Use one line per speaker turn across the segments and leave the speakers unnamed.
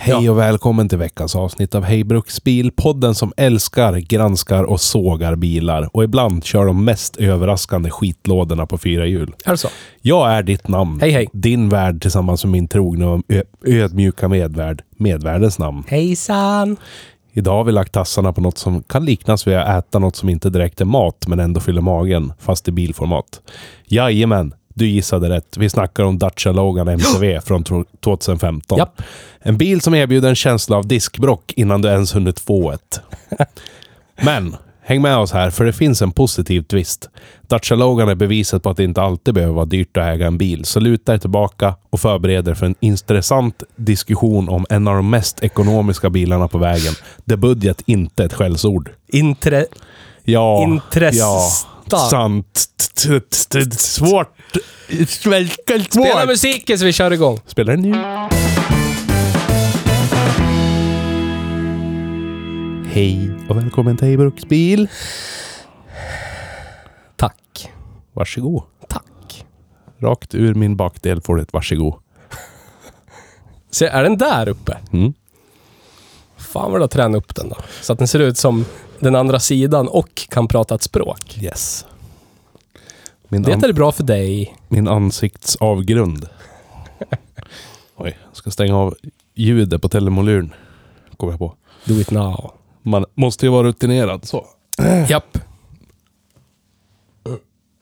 Hej och välkommen till veckans avsnitt av Hej Bruksbil, podden som älskar, granskar och sågar bilar. Och ibland kör de mest överraskande skitlådorna på fyra hjul.
Är det så?
Jag är ditt namn.
Hej, hej.
Din värld tillsammans med min trogna och ö- ödmjuka medvärd. Medvärdens namn.
Hejsan!
Idag har vi lagt tassarna på något som kan liknas vid att äta något som inte direkt är mat, men ändå fyller magen, fast i bilformat. Jajamän, du gissade rätt. Vi snackar om Dacia Logan MCV från tro- 2015.
Japp.
En bil som erbjuder en känsla av diskbrock innan du ens hunnit få ett. Men, häng med oss här, för det finns en positiv twist. Dacia Logan är beviset på att det inte alltid behöver vara dyrt att äga en bil, så luta er tillbaka och förbered er för en intressant diskussion om en av de mest ekonomiska bilarna på vägen, där budget inte är ett skällsord.
Intre...
Ja,
Intressant.
ja, sant. T- t- t- t- Svårt. Svälka
Spela
svårt.
musiken så vi kör igång.
Spelar den nu? Hej och välkommen till Hej Bruksbil.
Tack.
Varsågod.
Tack.
Rakt ur min bakdel får du ett varsågod.
Så är den där uppe?
Mm.
Fan vad du har tränat upp den då. Så att den ser ut som den andra sidan och kan prata ett språk.
Yes. Min,
Det
an-
är bra för dig.
min ansiktsavgrund. Oj, jag ska stänga av ljudet på telemoluren. Kommer jag på.
Do it now.
Man måste ju vara rutinerad. Så.
Japp.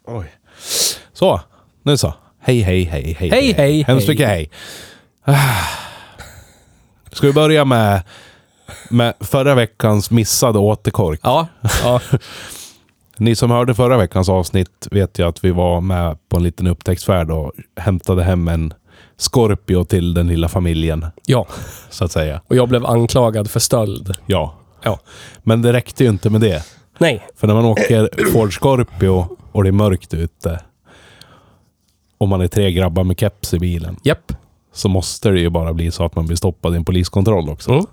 Oj. Så, nu så. Hej, hej, hej, hej.
Hej, hej,
Hemskt
hej.
mycket hej. Ah. Ska vi börja med, med förra veckans missade återkork?
Ja. ja.
Ni som hörde förra veckans avsnitt vet ju att vi var med på en liten upptäcktsfärd och hämtade hem en Scorpio till den lilla familjen,
ja.
så att säga.
Och jag blev anklagad för stöld.
Ja. ja. Men det räckte ju inte med det.
Nej.
För när man åker Ford Scorpio och det är mörkt ute och man är tre grabbar med keps i bilen
Japp.
så måste det ju bara bli så att man blir stoppad i en poliskontroll också.
Mm.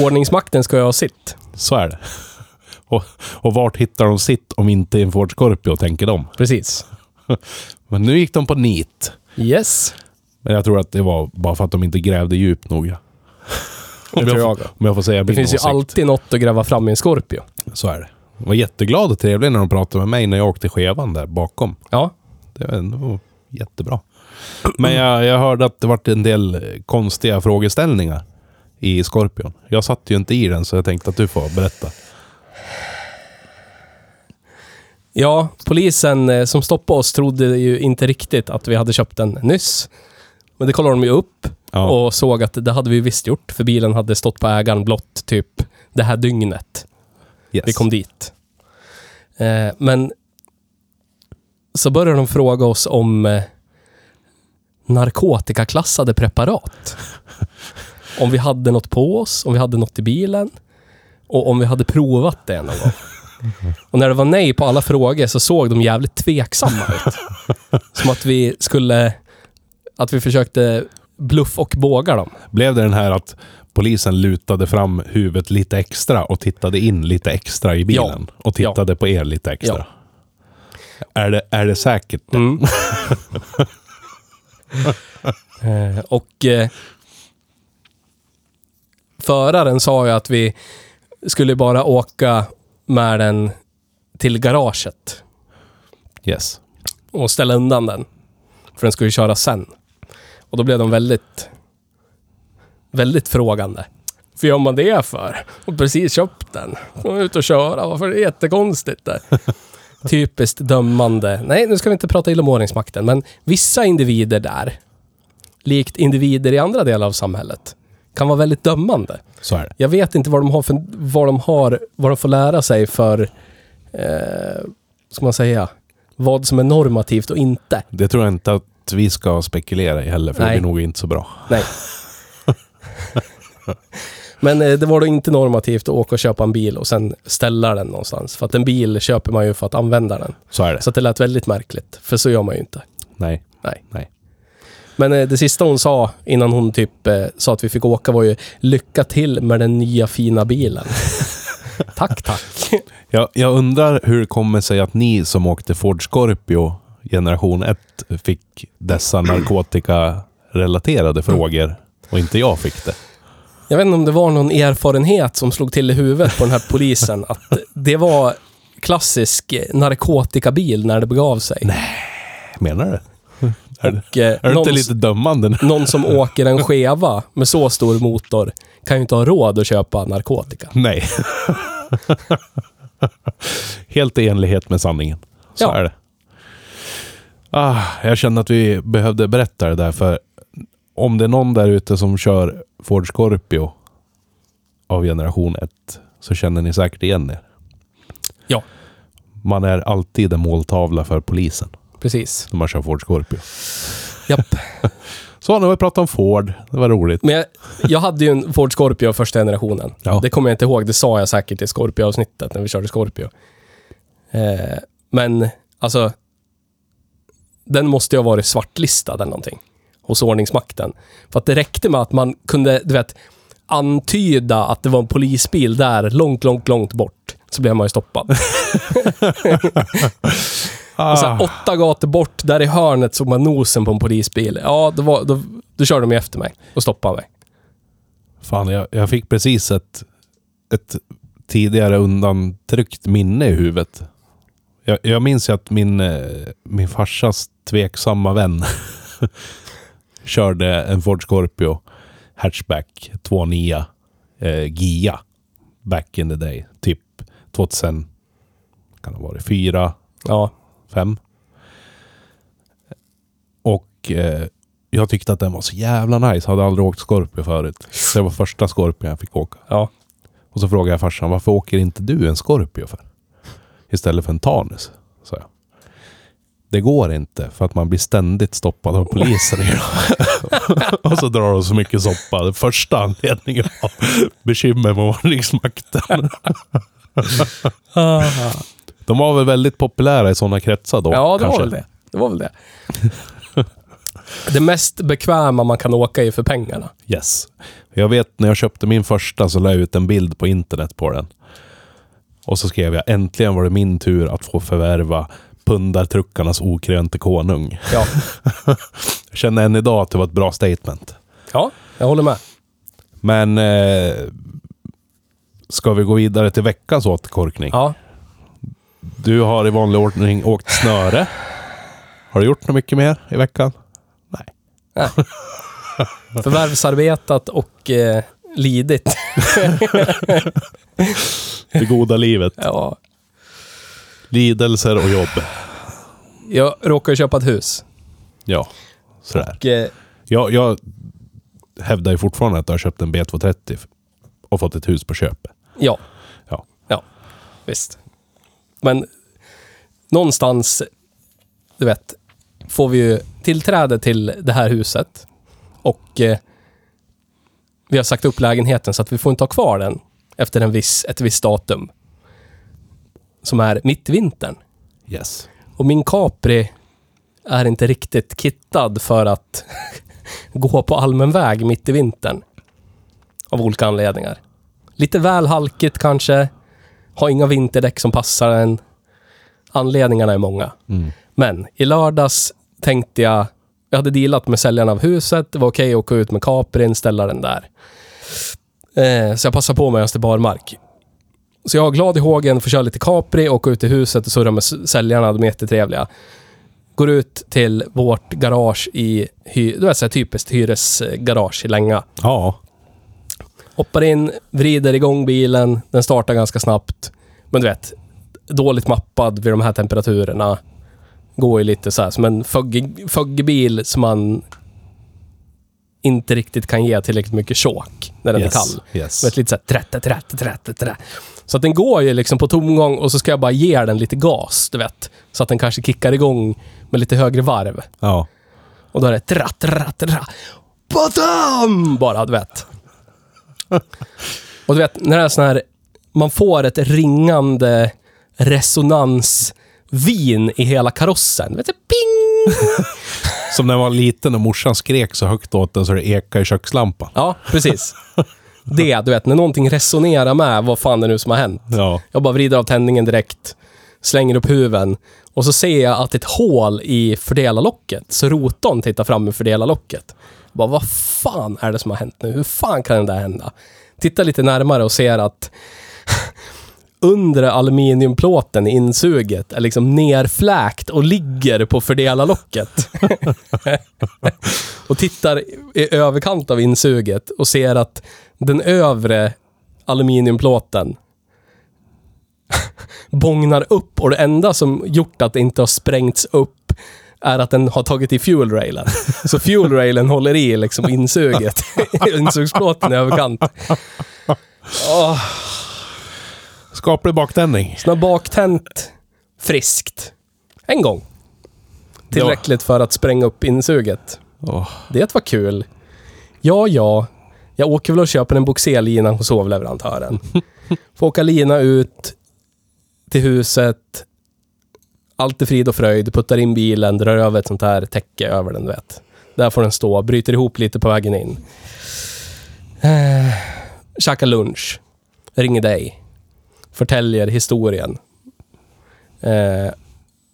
Ordningsmakten ska jag ha sitt.
Så är det. Och, och vart hittar de sitt om inte i en Ford Scorpio, tänker de.
Precis.
Men nu gick de på nit.
Yes.
Men jag tror att det var bara för att de inte grävde djupt nog. ja.
Det
Om
tror
jag,
jag.
får- om jag får säga
Det
min
finns ju
åsikt.
alltid något att gräva fram i en Scorpio.
Så är det. De var jätteglad och trevlig när de pratade med mig när jag åkte skevan där bakom.
Ja.
Det var ändå jättebra. Men jag, jag hörde att det varit en del eh, konstiga frågeställningar i Scorpion. Jag satt ju inte i den så jag tänkte att du får berätta.
Ja, polisen eh, som stoppade oss trodde ju inte riktigt att vi hade köpt den nyss. Men det kollade de ju upp
Ja.
och såg att det hade vi visst gjort, för bilen hade stått på ägaren blott typ det här dygnet.
yes.
Vi kom dit. Eh, men så började de fråga oss om eh, narkotikaklassade preparat. Om vi hade något på oss, om vi hade något i bilen och om vi hade provat det någon gång. Och när det var nej på alla frågor så såg de jävligt tveksamma ut. Som att vi skulle... Att vi försökte bluff och båga dem.
Blev det den här att polisen lutade fram huvudet lite extra och tittade in lite extra i bilen? Och tittade på er lite extra? Är, det, är det säkert?
Mm. Eh, och eh, föraren sa ju att vi skulle bara åka med den till garaget
Yes.
och ställa undan den. För den skulle ju köra sen. Och då blev de väldigt, väldigt frågande. För gör man det för? Och precis köpt den. Kom ut och köra. Varför är det jättekonstigt det? Typiskt dömande. Nej, nu ska vi inte prata illa om ordningsmakten, men vissa individer där likt individer i andra delar av samhället, kan vara väldigt dömande.
Så är det.
Jag vet inte vad de har, för, vad de, har vad de får lära sig för, eh, ska man säga, vad som är normativt och inte.
Det tror jag inte att vi ska spekulera i heller, för
Nej.
det blir nog inte så bra.
Nej. Men eh, det var då inte normativt att åka och köpa en bil och sen ställa den någonstans. För att en bil köper man ju för att använda den.
Så är det.
Så att det lät väldigt märkligt, för så gör man ju inte.
Nej.
Nej.
Nej.
Men eh, det sista hon sa innan hon typ eh, sa att vi fick åka var ju lycka till med den nya fina bilen. tack, tack.
Jag, jag undrar hur det kommer sig att ni som åkte Ford Scorpio generation 1 fick dessa narkotikarelaterade
Mm.
frågor och inte jag fick det.
Jag vet inte om det var någon erfarenhet som slog till i huvudet på den här polisen att det var klassisk eh, narkotikabil när det begav sig.
Menar du? Är, det-
Och, eh,
är du inte
någon,
lite dömande nu?
någon som åker en skeva med så stor motor kan ju inte ha råd att köpa narkotika.
Nej. Helt i enlighet med sanningen. Så
Ja.
är det. Ah, jag kände att vi behövde berätta det där, för om det är någon där ute som kör Ford Scorpio av generation 1 så känner ni säkert igen er.
Ja.
Man är alltid en måltavla för polisen
Precis.
när man kör Ford Scorpio.
Japp.
Så, nu har vi pratat om Ford. Det var roligt.
Men jag, jag hade ju en Ford Scorpio första generationen.
Ja.
Det kommer jag inte ihåg. Det sa jag säkert i Scorpio-avsnittet när vi körde Scorpio. Eh, men alltså, den måste ju ha varit svartlistad eller någonting hos ordningsmakten. För att det räckte med att man kunde, du vet, antyda att det var en polisbil där, långt, långt, långt bort. Så blev man ju stoppad.
Ah,
Och så här, åtta gator bort, där i hörnet såg man nosen på en polisbil. Ja, då, var, då, då körde de ju efter mig och stoppade mig.
Fan, jag, jag fick precis ett, ett tidigare undantryckt minne i huvudet. Jag, jag minns ju att min, eh, min farsas tveksamma vän körde en Ford Scorpio Hatchback 2.9 eh, GIA back in the day. Typ 2000, kan det ha varit, fyra,
Ja,
fem. Och eh, jag tyckte att den var så jävla nice. Hade aldrig åkt Scorpio förut. Så det var första Scorpio jag fick åka.
ja.
Och så frågade jag farsan, varför åker inte du en Scorpio för? Istället för en Tanus, sa jag. Det går inte, för att man blir ständigt stoppad av polisen. och så drar de så mycket soppa. Den första anledningen var bekymmer med ordningsmakten. Ah. De var väl väldigt populära i sådana kretsar då?
Ja, det var
kanske?
väl det. Det var väl det. det mest bekväma man kan åka i för pengarna.
Yes. Jag vet när jag köpte min första så la jag ut en bild på internet på den. Och så skrev jag äntligen var det min tur att få förvärva pundartruckarnas okrönte konung.
Ja,
Jag känner än idag att det var ett bra statement.
ja jag håller med.
Men eh, ska vi gå vidare till veckans återkorkning?
Ja.
Du har i vanlig ordning åkt snöre. Har du gjort något mycket mer i veckan? Nej.
Förvärvsarbetat och eh, lidit.
Det goda livet.
Ja.
Lidelser och jobb.
Jag råkade köpa ett hus.
Ja, sådär.
Och, eh,
Jag, jag hävdar ju fortfarande att jag har köpt en B230 och fått ett hus på köpet.
ja,
Ja.
ja, visst. Men någonstans, du vet, får vi ju tillträde till det här huset. Och eh, vi har sagt upp lägenheten så att vi får inte ha kvar den efter en viss, ett visst datum. Som är mitt i vintern.
Yes.
Och min Capri är inte riktigt kittad för att gå på allmän väg mitt i vintern. Av olika anledningar. Lite väl halkigt kanske. Har inga vinterdäck som passar en. Anledningarna är många. Men i lördags tänkte jag... Jag hade dealat med säljaren av huset. Det var okej att åka ut med Caprin, ställa den där. Eh, så jag passade på mig till barmark. Så jag var glad i hågen, får köra lite Capri, åka ut i huset och surra med s- säljarna. De är jättetrevliga. Går ut till vårt garage i... Hy- det var så här typiskt hyresgarage i Länga.
Ja.
Hoppar in, vrider igång bilen. Den startar ganska snabbt. Men du vet, dåligt mappad vid de här temperaturerna. Går ju lite så här som en fögg- föggbil som man inte riktigt kan ge tillräckligt mycket tjåk när den
Yes,
är kall.
yes.
Med ett lite såhär trätte, trätte, trätte, trä. Så att den går ju liksom på tomgång och så ska jag bara ge den lite gas, du vet. Så att den kanske kickar igång med lite högre varv.
Ja.
Och då är det tra, tra, tra. Badam! Bara, du vet. Och du vet, när det är sån här... Man får ett ringande resonansvin i hela karossen. Du vet, så ping!
Som när jag var liten och morsan skrek så högt åt den så det ekade i kökslampan.
Ja, precis. Det, du vet, när någonting resonerar med vad fan det nu som har hänt.
Ja.
Jag bara vrider av tändningen direkt, slänger upp huven och så ser jag att ett hål i fördelarlocket, så rotorn tittar fram ur fördelarlocket. Jag Bara, vad fan är det som har hänt nu? Hur fan kan det där hända? Tittar lite närmare och ser att undre aluminiumplåten i insuget är liksom nerfläkt och ligger på fördelarlocket. och tittar i överkant av insuget och ser att den övre aluminiumplåten bångnar upp och det enda som gjort att det inte har sprängts upp är att den har tagit i fuelrailen. Så fuelrailen håller i liksom insuget. Insugsplåten i överkant. Åh,
Skaplig baktändning.
sån här baktänt friskt. En gång. Tillräckligt för att spränga upp insuget.
Åh.
Det var kul. Ja, ja. Jag åker väl och köper en boxerlina hos hovleverantören. Får åka lina ut till huset. Allt är frid och fröjd. Puttar in bilen, drar över ett sånt här täcke över den, du vet. Där får den stå. Bryter ihop lite på vägen in. Eh, käkar lunch. Ringer dig. Förtäljer historien. Eh,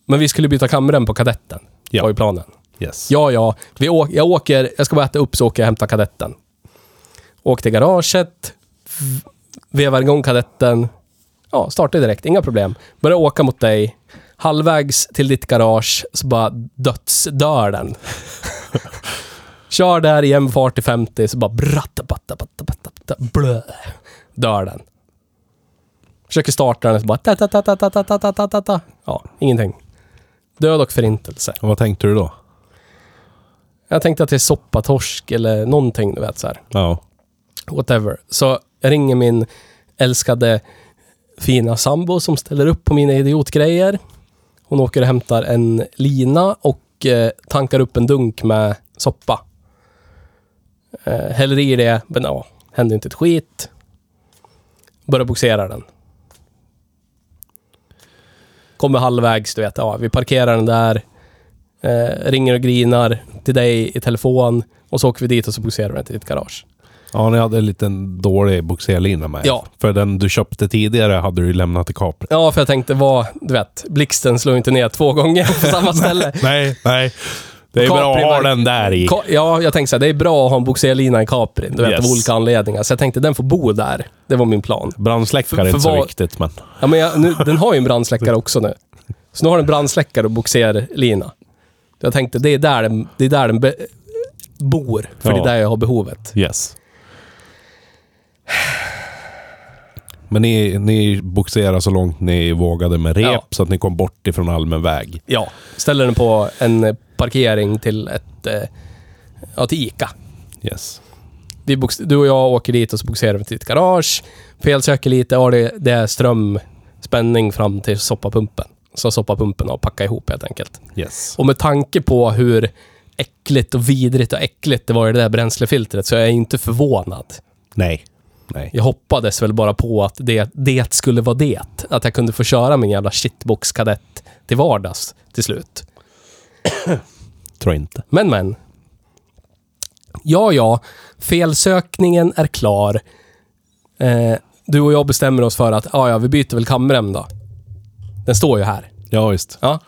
men vi skulle byta kameran på kadetten.
Ja.
Var ju planen.
Yes.
Ja, ja. Vi å- jag åker, jag ska bara äta upp så åker jag och hämtar kadetten. Åker till garaget, v- vevar igång kadetten. Ja, startar direkt, inga problem. Börjar åka mot dig. Halvvägs till ditt garage så bara dödsdör den. Kör där i jämn fart till 50 så bara bratta, batta, batta, batta, batta, blö. Dör den. Försöker starta den så bara ta, ta, ta, ta, ta, ta, ta, ta, ta, ta. Ja, ingenting. Död och förintelse.
Och Vad tänkte du då?
Jag tänkte att det är soppatorsk eller någonting, du vet så här.
Ja.
Whatever. Så jag ringer min älskade fina sambo som ställer upp på mina idiotgrejer. Hon åker och hämtar en lina och eh, tankar upp en dunk med soppa. Eh, häller i det, men ja, händer inte ett skit. Börjar boxera den. Kommer halvvägs, du vet. Ja, vi parkerar den där. Eh, ringer och grinar till dig i telefon. Och så åker vi dit och så boxerar vi den till ditt garage.
Ja, ni hade en liten dålig bogserlina med.
Ja.
För den du köpte tidigare hade du ju lämnat i kapret.
Ja, för jag tänkte, vad, du vet, blixten slår inte ner två gånger på samma ställe.
Nej, nej. Det är bra
Capri
att ha
var-
den där i.
Ka- ja, jag tänkte så här, det är bra att ha en bogserlina i Capri, du vet,
Yes.
av olika anledningar. Så jag tänkte, den får bo där. Det var min plan.
Brandsläckare
För-
är inte
för
så
vad-
viktigt, men...
Ja, men jag, nu, den har ju en brandsläckare också nu. Så nu har den brandsläckare och bogserlina. Jag tänkte, det är där den, det är där den be- bor, för
Ja.
det är där jag har behovet.
Yes. Men ni, ni bogserade så långt ni vågade med rep
Ja.
så att ni kom bort ifrån allmän väg.
Ja, ställer den på en eh, parkering till ett... eh, Ja, till Ica.
Yes.
vi box- du och jag åker dit och så boxerar vi till ditt garage. Felsöker lite, ja det, det är strömspänning fram till soppapumpen. Så soppapumpen har packat ihop helt enkelt.
Yes.
Och med tanke på hur äckligt och vidrigt och äckligt det var i det där bränslefiltret så är jag inte förvånad.
Nej. Nej.
Jag hoppades väl bara på att det, det skulle vara det. Att jag kunde få köra min jävla shitbox-kadett till vardags till slut.
Tror inte.
Men, men. Ja, ja. Felsökningen är klar. Eh, du och jag bestämmer oss för att, ja, ja, vi byter väl kamrem då. Den står ju här.
Ja, just.
Ja.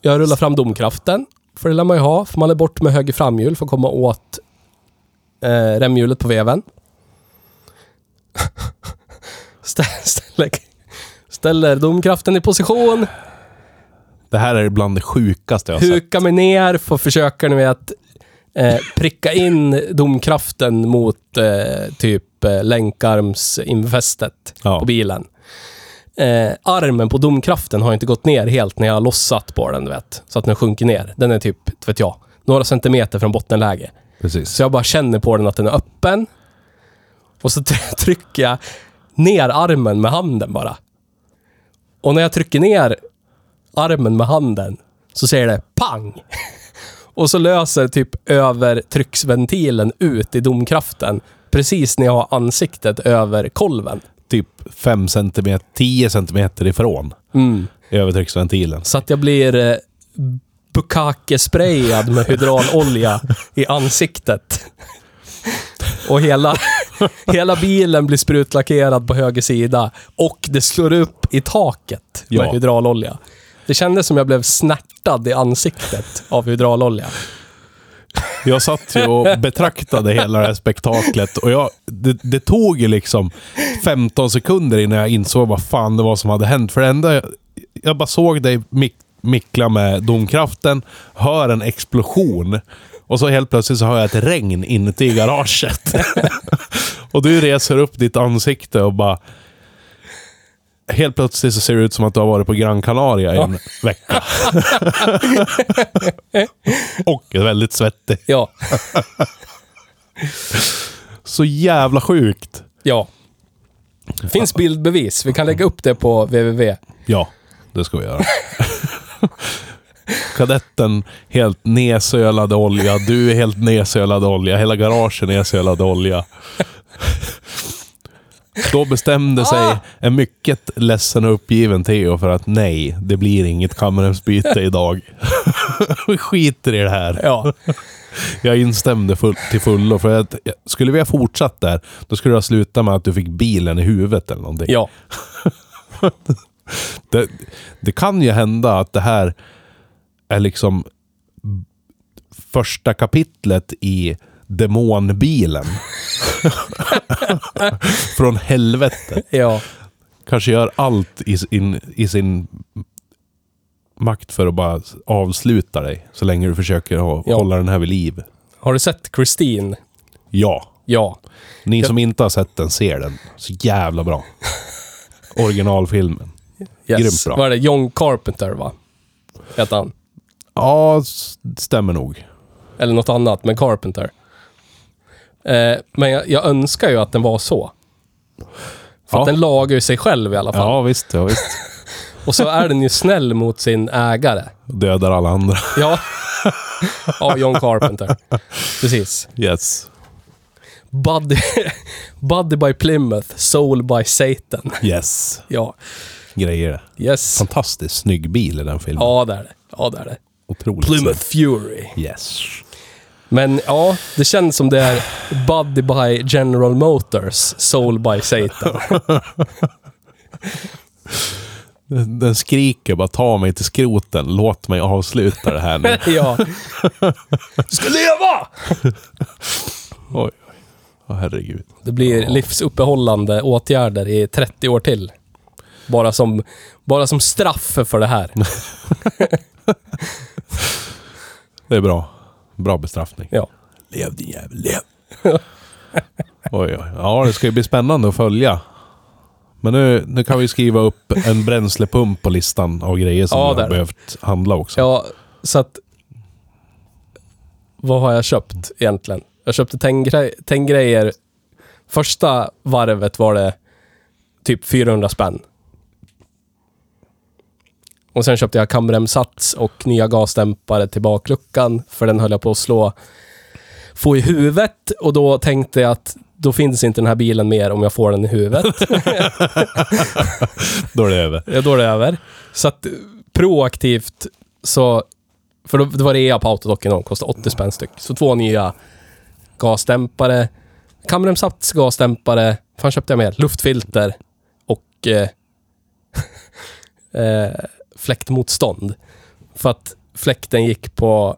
Jag rullar fram domkraften. För det lär man ju ha, för man är bort med höger framhjul för att komma åt eh, remhjulet på veven. Stä- ställer, ställer domkraften i position.
Det här är bland det sjukaste jag har sett.
Huka mig ner, får försöka nu med att eh, pricka in domkraften mot eh, typ eh, länkarmsinfästet
Ja.
på bilen. Eh, armen på domkraften har inte gått ner helt när jag har lossat på den, du vet. Så att den sjunker ner. Den är typ, vet jag, några centimeter från bottenläge.
Precis.
Så jag bara känner på den att den är öppen. Och så try- trycker jag ner armen med handen bara. Och när jag trycker ner armen med handen så säger det pang! Och så löser typ övertrycksventilen ut i domkraften precis när jag har ansiktet över kolven.
Typ 5 centimeter, 10 centimeter ifrån övertrycksventilen.
Så att jag blir eh, bukake-sprayad med hydraulolja i ansiktet. Och hela, hela bilen blir sprutlackerad på höger sida. Och det slår upp i taket med
Ja.
hydraulolja. Det kändes som jag blev snärtad i ansiktet av hydraulolja.
Jag satt ju och betraktade hela det här spektaklet och jag, det, det tog ju liksom 15 sekunder innan jag insåg vad fan det var som hade hänt. För det enda jag, jag bara såg dig mik, mickla med domkraften, hör en explosion och så helt plötsligt så hör jag ett regn inuti garaget. och du reser upp ditt ansikte och bara... Helt plötsligt så ser det ut som att du har varit på Gran Canaria i en vecka. och är väldigt svettig.
Ja,
Så jävla sjukt.
ja. Finns bildbevis. Vi kan lägga upp det på www.
Ja, det ska vi göra. Kadetten helt nedsölad olja. Du är helt nedsölad olja. Hela garagen är nedsölad olja. Då bestämde sig en mycket ledsen och uppgiven Theo för att nej, det blir inget kamremsbyte idag. Vi skiter i det här.
Ja,
Jag instämde full, till fullo. För att, skulle vi ha fortsatt där, då skulle det ha slutat med att du fick bilen i huvudet eller någonting.
ja.
Det, det kan ju hända att det här är liksom första kapitlet i demonbilen. Från helvetet.
ja.
Kanske gör allt i sin, i sin makt för att bara avsluta dig. Så länge du försöker hå-
Ja.
hålla den här vid liv.
Har du sett Christine?
Ja.
Ja.
Ni som inte har sett den, ser den. Så jävla bra. Originalfilmen.
Yes.
Grymt bra.
Vad är det? John Carpenter, va? Hette han.
Ja, s- stämmer nog.
Eller något annat, men Carpenter. Eh, men jag, jag önskar ju att den var så. För
Ja.
att den lagar ju sig själv i alla fall.
Ja, visst. Ja, visst.
Och så är den ju snäll mot sin ägare.
Dödar alla andra.
Ja. ja, John Carpenter. Precis.
Yes.
Buddy, Buddy by Plymouth, Soul by Satan.
Yes.
Ja.
Grejer.
Yes.
Fantastiskt snygg bil i den filmen.
Ja, det är det. Ja, det är det.
Otroligt
Plymouth Fury.
snygg. Yes.
Men ja, det känns som det är Buddy by General Motors, Soul by Satan.
Den, den skriker bara ta mig till skroten. Låt mig avsluta det här nu.
ja. Du ska leva!
Oj, oj. Åh, herregud.
Det blir livsuppehållande åtgärder i 30 år till. Bara som, bara som straff för det här.
Det är bra. Bra bestraffning.
Ja.
Lev din jävel, lev. oj, oj. Ja, det ska ju bli spännande att följa. Men nu, nu kan vi skriva upp en bränslepump på listan av grejer som
Ja,
vi
där
har
då.
behövt handla också.
ja, så att... Vad har jag köpt egentligen? Jag köpte tenngre- tenngrejer. Första varvet var det typ 400 spänn. Och sen köpte jag kamremsats och nya gasdämpare till bakluckan, för den höll jag på att slå få i huvudet och då tänkte jag att då finns inte den här bilen mer om jag får den i huvudet.
Då är det över.
Ja, då är det över. Så att eh, proaktivt så... För då, det var rea på autodocken och de kostade 80 spänn styck. Så två nya gasdämpare. Kamremsats gasdämpare. Fan köpte jag mer? Luftfilter. Och eh, eh, fläktmotstånd. För att fläkten gick på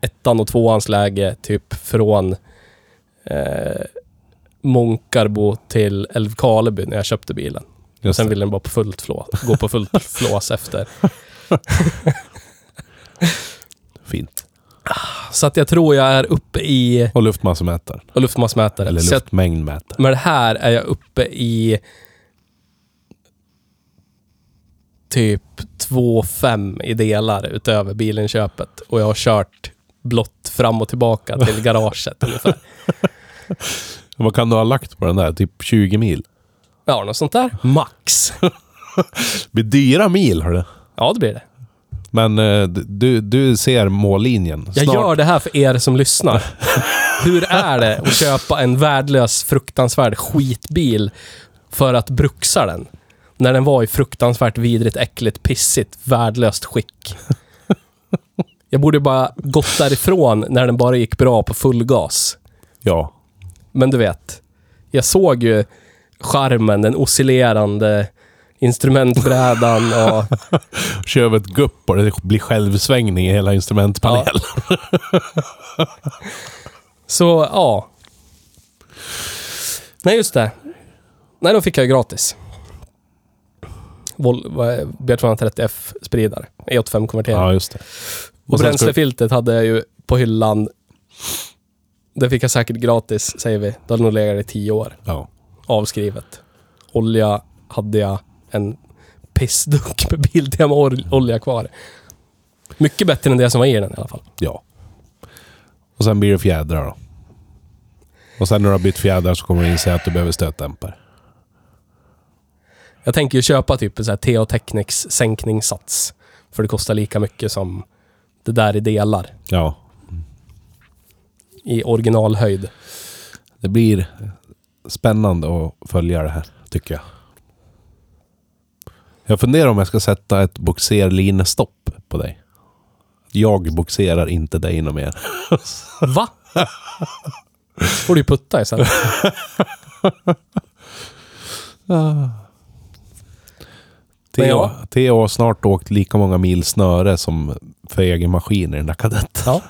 ettan och tvåans läge typ från eh, Månkarbo till Älvkarleby när jag köpte bilen. Och
Just
sen
det.
ville den bara på fullt flå, gå på fullt flås efter.
Fint.
Så att jag tror jag är uppe i
Och luftmassemätaren.
och luftmassmätare.
Eller
Så att
luftmängdmätare.
med det här är jag uppe i typ 2,5 i delar utöver bilinköpet. Och jag har kört blått fram och tillbaka till garaget ungefär.
Vad kan du ha lagt på den där? Typ 20 mil?
Ja, något sånt där. Max.
Det blir dyra mil, hörru.
Ja, det blir det.
Men eh, du, du ser mållinjen.
Jag
Snart-
gör det här för er som lyssnar. Hur är det att köpa en värdelös, fruktansvärd skitbil för att bruxa den? När den var i fruktansvärt vidrigt, äckligt, pissigt, värdelöst skick. Jag borde bara gått därifrån när den bara gick bra på full gas.
Ja.
Men du vet, jag såg ju skärmen, den oscillerande instrumentbrädan och...
Kör över ett gupp och det blir självsvängning i hela instrumentpanelen.
Så, ja. Nej, just det. Nej, de fick jag ju gratis. Vol- vad är- B230F-spridare. E85-konverterare.
Ja, just det. sen
och
ska-
E bränslefiltret hade jag ju på hyllan. Det fick jag säkert gratis, säger vi. Det hade nog legat i tio år.
Ja.
Avskrivet. Olja hade jag en pissdunk med Biltema ol- olja kvar. Mycket bättre än det som var i den i alla fall.
ja. Och sen blir det fjädrar då. Och sen när du har bytt fjädrar så kommer du inse att du behöver stötdämpare.
Jag tänker ju köpa typ en så här TH Technics sänkningssats. För det kostar lika mycket som det där i delar.
Ja.
I originalhöjd.
Det blir spännande att följa det här, tycker jag. Jag funderar om jag ska sätta ett boxerlinestopp på dig. Jag boxerar inte dig inom er.
Va? får du ju putta i sen. Men
Theo,
ja.
Theo har snart åkt lika många mil snöre som för egen maskin i den där kadetten.
Ja.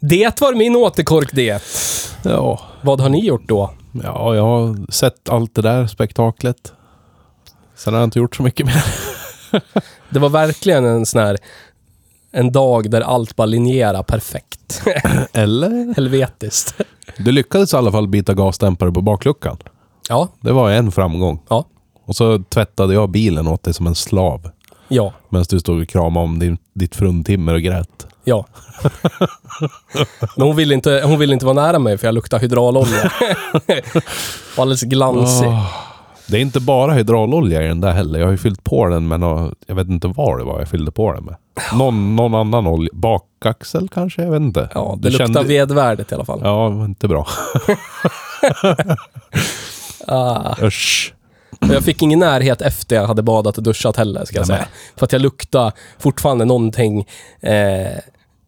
Det var min återkorkdiet.
Ja.
Vad har ni gjort då?
ja, jag har sett allt det där spektaklet. Sen har jag inte gjort så mycket mer.
Det var verkligen en sån här... En dag där allt bara linjerar perfekt.
Eller?
Helvetiskt.
Du lyckades i alla fall byta gasdämpare på bakluckan.
Ja,
Det var en framgång.
ja,
Och så tvättade jag bilen åt dig som en slav.
ja.
Medan du stod och kramade om din, ditt fruntimmer och grät.
Ja. Men hon ville inte, hon ville inte vara nära mig för jag luktar hydraulolja. Och Alldeles glansig.
Det är inte bara hydraulolja i den där heller. Jag har ju fyllt på den med nå, Jag vet inte vad det var jag fyllde på den med. Någon, någon annan olja. Bakaxel kanske? Jag vet inte.
Ja, det
Du
luktar
kände-
vedvärdet i alla fall.
Ja, det var inte bra.
Ah.
Usch.
Och Jag fick ingen närhet efter jag hade badat och duschat heller, ska jag
Nej,
säga. För att jag luktar fortfarande någonting eh,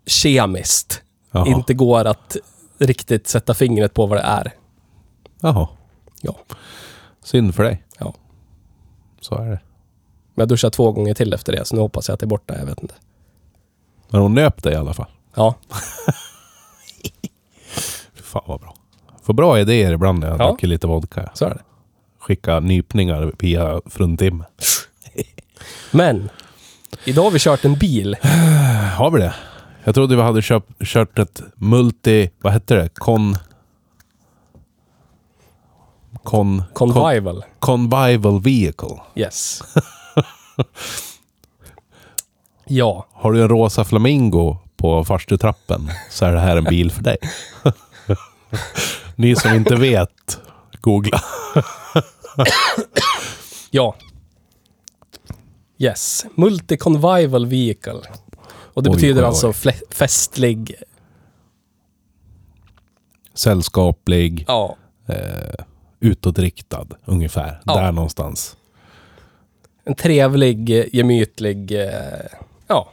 kemiskt.
Jaha.
Inte går att riktigt sätta fingret på vad det är.
Jaha.
Ja.
Synd för dig.
ja.
Så är det.
Men jag duschar två gånger till efter det, så nu hoppas jag att det är borta. Jag vet inte.
Men hon nöp dig i alla fall.
Ja,
Fy Fan vad bra. Får bra idéer ibland när jag
Ja.
dricker lite vodka.
så är det.
Skicka nypningar via fruntimmer.
Men, idag har vi kört en bil.
Har vi det? Jag trodde vi hade köpt, kört ett multi... Vad hette det? Kon... Kon... kon-
Convival.
Convival vehicle.
Yes. ja,
Har du en rosa flamingo på farstutrappen så är det här en bil för dig. Ni som inte vet, googla.
ja. Yes. Multi-convival vehicle. Och det
Oj,
betyder
oj, oj.
alltså fle- festlig...
Sällskaplig, eh,
Ja.
utåtriktad ungefär.
Ja.
Där någonstans.
En trevlig, eh, gemytlig... eh, Ja.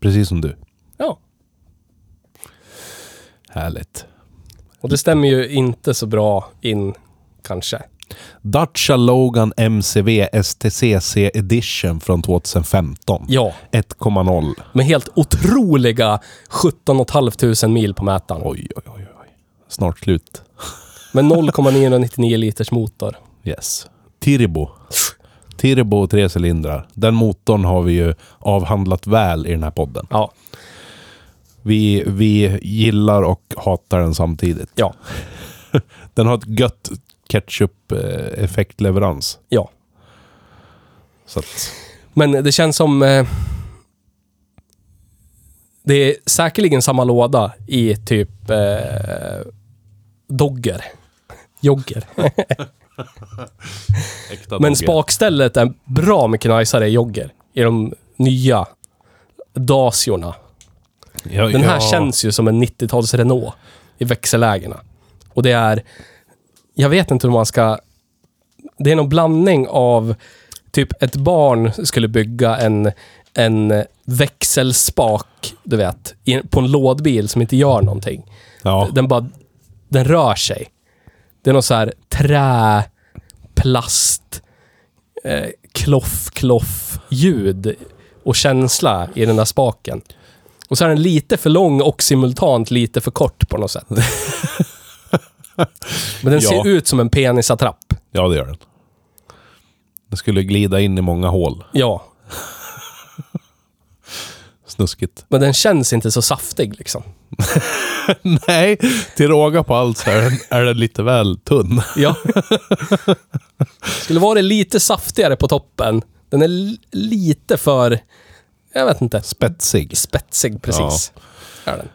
Precis som du.
Ja.
Härligt.
Och det stämmer ju inte så bra in, kanske.
Dacia Logan MCV STCC Edition från 2015.
Ja.
1,0.
Med helt otroliga 17 500 mil på mätaren.
Oj, oj, oj, oj. Snart slut.
Med 0,999 liters motor.
Yes. Turbo. Turbo och tre cylindrar. Den motorn har vi ju avhandlat väl i den här podden.
Ja.
Vi, vi gillar och hatar den samtidigt.
Ja.
Den har ett gött ketchup-effektleverans.
Ja.
Så att,
Men det känns som... Eh, det är säkerligen samma låda i typ eh, Dogger. Jogger.
äkta
Men
dogge.
spakstället är bra mycket najsare i Jogger. I de nya Daciorna.
Ja,
Den här
ja.
känns ju som en 90-tals Renault i växellägena. Och det är... Jag vet inte hur man ska... Det är någon blandning av typ ett barn skulle bygga en, en växelspak, du vet, i- på en lådbil som inte gör någonting.
Ja.
Den bara... Den rör sig. Det är någon så här trä, plast, eh, kloff, kloff, ljud och känsla i den där spaken. Och så är den lite för lång och simultant lite för kort på något sätt. Men den
Ja.
ser ut som en penisattrapp.
ja, det gör den. Den skulle glida in i många hål.
Ja,
Snuskigt.
men den känns inte så saftig liksom.
Nej, till råga på allt så är den, är den lite väl tunn.
Ja. Skulle vara det lite saftigare på toppen. Den är li- lite för, jag vet inte,
Spetsig.
spetsig precis. Är den.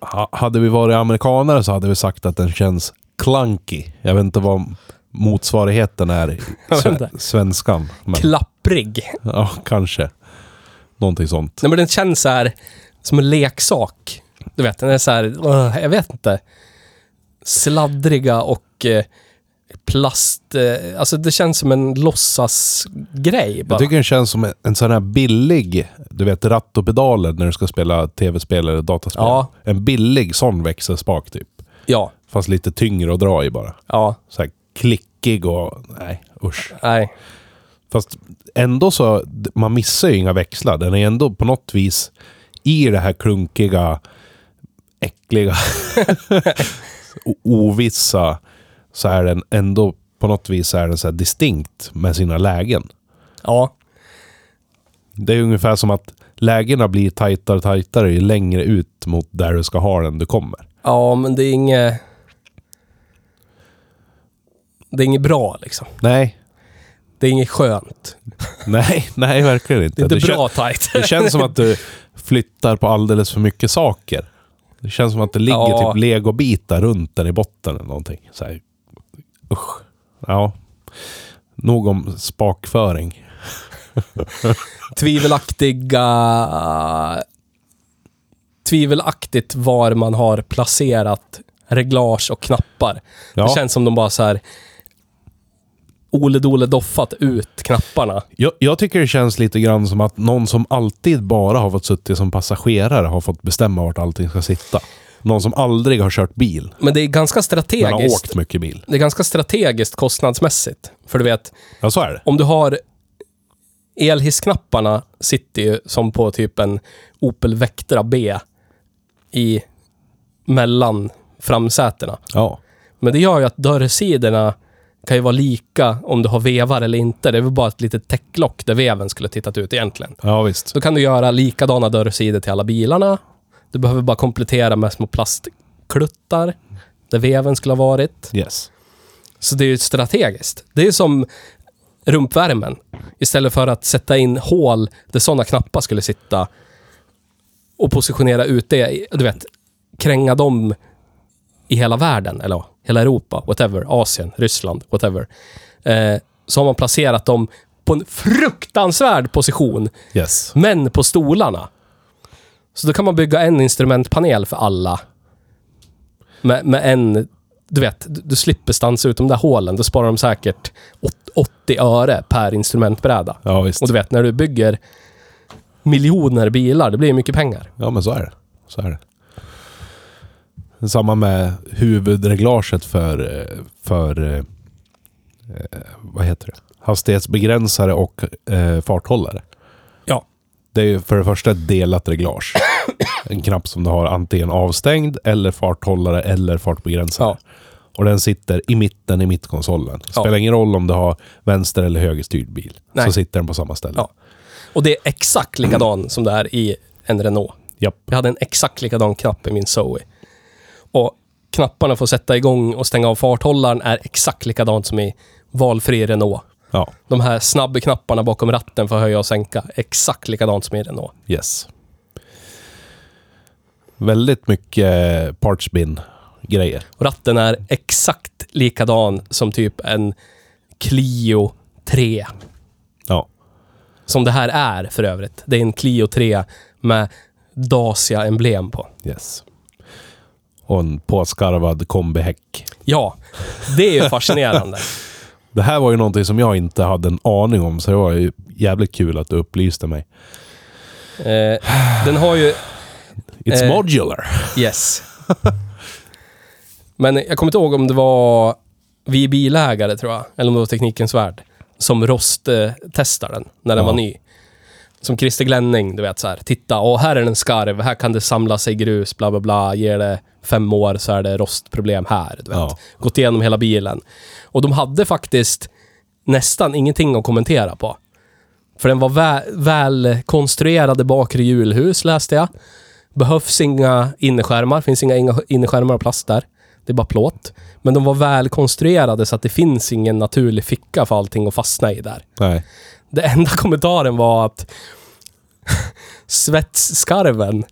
Ha, hade vi varit amerikanare så hade vi sagt att den känns clunky. Jag vet inte vad motsvarigheten är i
Jag vet
sve-
inte.
svenskan. Men,
Klapprig.
ja, kanske. Någonting sånt.
Nej, men den känns så här som en leksak. Du vet, den är så här, "Ugh", jag vet inte. Sladdriga och eh, plast. Eh, alltså det känns som en låtsasgrej bara.
Jag tycker den känns som en, en sån här billig, du vet ratt och pedaler när du ska spela tv-spel eller dataspel.
Ja.
En billig sån växelspak typ.
Ja,
Fast lite tyngre att dra i bara.
ja,
Så här klickig och... Nej, usch.
nej.
Fast ändå så, d- man missar ju inga växlar. Den är ändå på något vis i det här klunkiga, äckliga, o- ovissa. Så är den ändå på något vis är den så här distinkt med sina lägen.
Ja,
Det är ungefär som att lägena blir tajtare och tajtare ju längre ut mot där du ska ha den du kommer.
ja, men det är inget... Det är inget bra liksom.
Nej,
Det är inget skönt.
nej, nej verkligen inte.
Det är inte
Det kän-
bra tight.
Det känns som att du flyttar på alldeles för mycket saker. Det känns som att det ligger
Ja.
typ legobitar runt den i botten eller någonting. Så här. Usch. Ja. Nog om spakföring.
tvivelaktiga... Tvivelaktigt var man har placerat reglage och knappar.
Ja.
Det känns som de bara så här... Ole Dole doffat ut knapparna.
Jag, jag tycker det känns lite grann som att någon som alltid bara har fått suttit som passagerare har fått bestämma vart allting ska sitta. Någon som aldrig har kört bil,
Men det är ganska
men har
strategiskt.
åkt mycket bil.
Det är ganska strategiskt kostnadsmässigt. För du vet,
Ja, så är det.
om du har... Elhissknapparna sitter ju som på typ en Opel Vectra B i mellan framsätena.
Ja.
Men det gör ju att dörrsidorna kan ju vara lika om du har vevar eller inte. Det är väl bara ett litet täcklock där veven skulle ha tittat ut egentligen.
ja, visst.
Då kan du göra likadana dörrsidor till alla bilarna. Du behöver bara komplettera med små plastkluttar där veven skulle ha varit.
Yes.
Så det är ju strategiskt. Det är ju som rumpvärmen. Istället för att sätta in hål där sådana knappar skulle sitta och positionera ut det, i- du vet, kränga dem i hela världen, eller ja, hela Europa, whatever, Asien, Ryssland, whatever. Eh, så har man placerat dem på en fruktansvärd position,
Yes.
men på stolarna. Så då kan man bygga en instrumentpanel för alla. Med, med en... Du vet, du, du slipper stansa ut de där hålen. Då sparar de säkert åt- 80 öre per instrumentbräda.
Ja, visst.
Och du vet, när du bygger miljoner bilar, det blir ju mycket pengar.
Ja, men så är det. Så är det. Samma med huvudreglaget för, eh, för eh, eh, vad heter det? hastighetsbegränsare och eh, farthållare.
Ja.
Det är ju för det första ett delat reglage. En knapp som du har antingen avstängd eller farthållare eller fartbegränsare.
Ja.
Och den sitter i mitten i mittkonsolen. Det spelar
Ja.
ingen roll om du har vänster eller högerstyrd bil. Så
Nej.
sitter den på samma ställe.
Ja. Och det är exakt likadan som det är i en Renault.
Japp.
Jag hade en exakt likadan knapp i min Zoe. Och knapparna för att sätta igång och stänga av farthållaren är exakt likadant som i valfri Renault.
Ja,
De här snabbknapparna bakom ratten för att höja och sänka. Exakt likadant som i Renault.
yes. Väldigt mycket eh, partspin-grejer.
Och ratten är exakt likadan som typ en Clio 3.
Ja.
Som det här är för övrigt. Det är en Clio 3 med Dacia-emblem på.
Yes. Och en påskarvad kombihäck.
Ja, det är ju fascinerande.
Det här var ju någonting som jag inte hade en aning om, så det var ju jävligt kul att du upplyste mig.
eh, den har ju...
It's
Eh.
modular.
Yes. Men jag kommer inte ihåg om det var vi bilägare, tror jag, eller om det var Teknikens Värld, som rosttestade den när den
Ja.
var ny. Som Christer Glenning, du vet så här. Titta, åh, här är den skarv, här kan det samla sig grus, bla bla bla. Ger det fem år så är det rostproblem här. Du vet.
Ja.
Gått igenom hela bilen. Och de hade faktiskt nästan ingenting att kommentera på. För den var vä välkonstruerade bakre hjulhus, läste jag. Behövs inga innerskärmar, finns inga inga innerskärmar av plast där. Det är bara plåt. Men de var välkonstruerade så att det finns ingen naturlig ficka för allting att fastna i där.
Nej.
Det enda kommentaren var att svetsskarven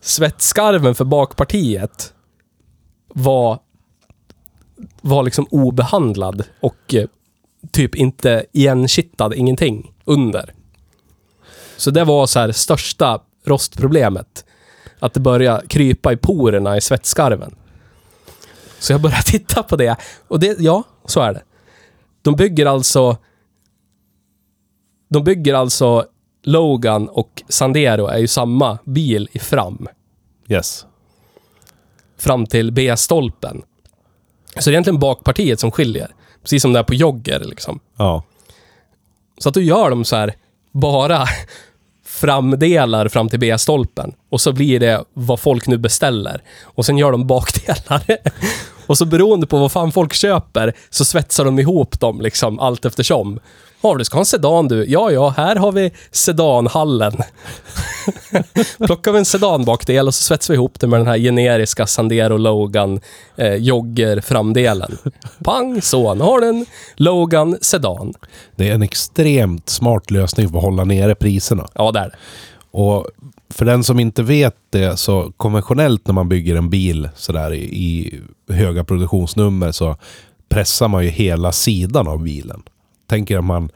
svetsskarven för bakpartiet var var liksom obehandlad och eh, typ inte igenkittad ingenting under. Så det var så här största rostproblemet. Att det började krypa i porerna i svetsskarven. Så jag började titta på det. Och det, ja, så är det. De bygger alltså... De bygger alltså... Logan och Sandero är ju samma bil i fram.
Yes.
Fram till B-stolpen. Så det är egentligen bakpartiet som skiljer. Precis som det är på jogger liksom.
Ja.
Så att då gör de så här, bara framdelar fram till B-stolpen. Och så blir det vad folk nu beställer. Och sen gör de bakdelar. Och så beroende på vad fan folk köper så svetsar de ihop dem liksom allt eftersom. Ja, du ska ha en sedan du. Ja, ja, här har vi sedanhallen. Plockar vi en sedanbakdel och så svetsar vi ihop det med den här generiska Sandero Logan eh, jogger framdelen. Pang, så. Nu har du en Logan sedan.
Det är en extremt smart lösning för att hålla nere priserna.
Ja, där.
Och för den som inte vet det, så konventionellt när man bygger en bil sådär i, i höga produktionsnummer så pressar man ju hela sidan av bilen. Tänker att man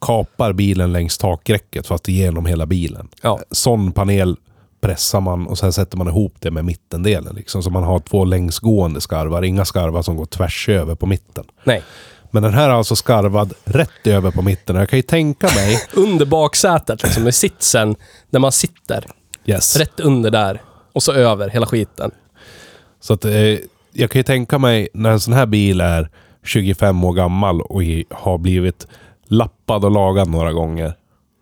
kapar bilen längs takräcket fast igenom hela bilen.
Ja.
Sån panel pressar man och sen sätter man ihop det med mittendelen. Liksom, så man har två längsgående skarvar, inga skarvar som går tvärs över på mitten.
Nej.
Men den här är alltså skarvad rätt över på mitten. Jag kan ju tänka mig...
Under baksätet, liksom med sitsen, där man sitter.
Yes.
Rätt under där. Och så över hela skiten.
Så att, eh, jag kan ju tänka mig när en sån här bil är 25 år gammal och i- har blivit lappad och lagad några gånger.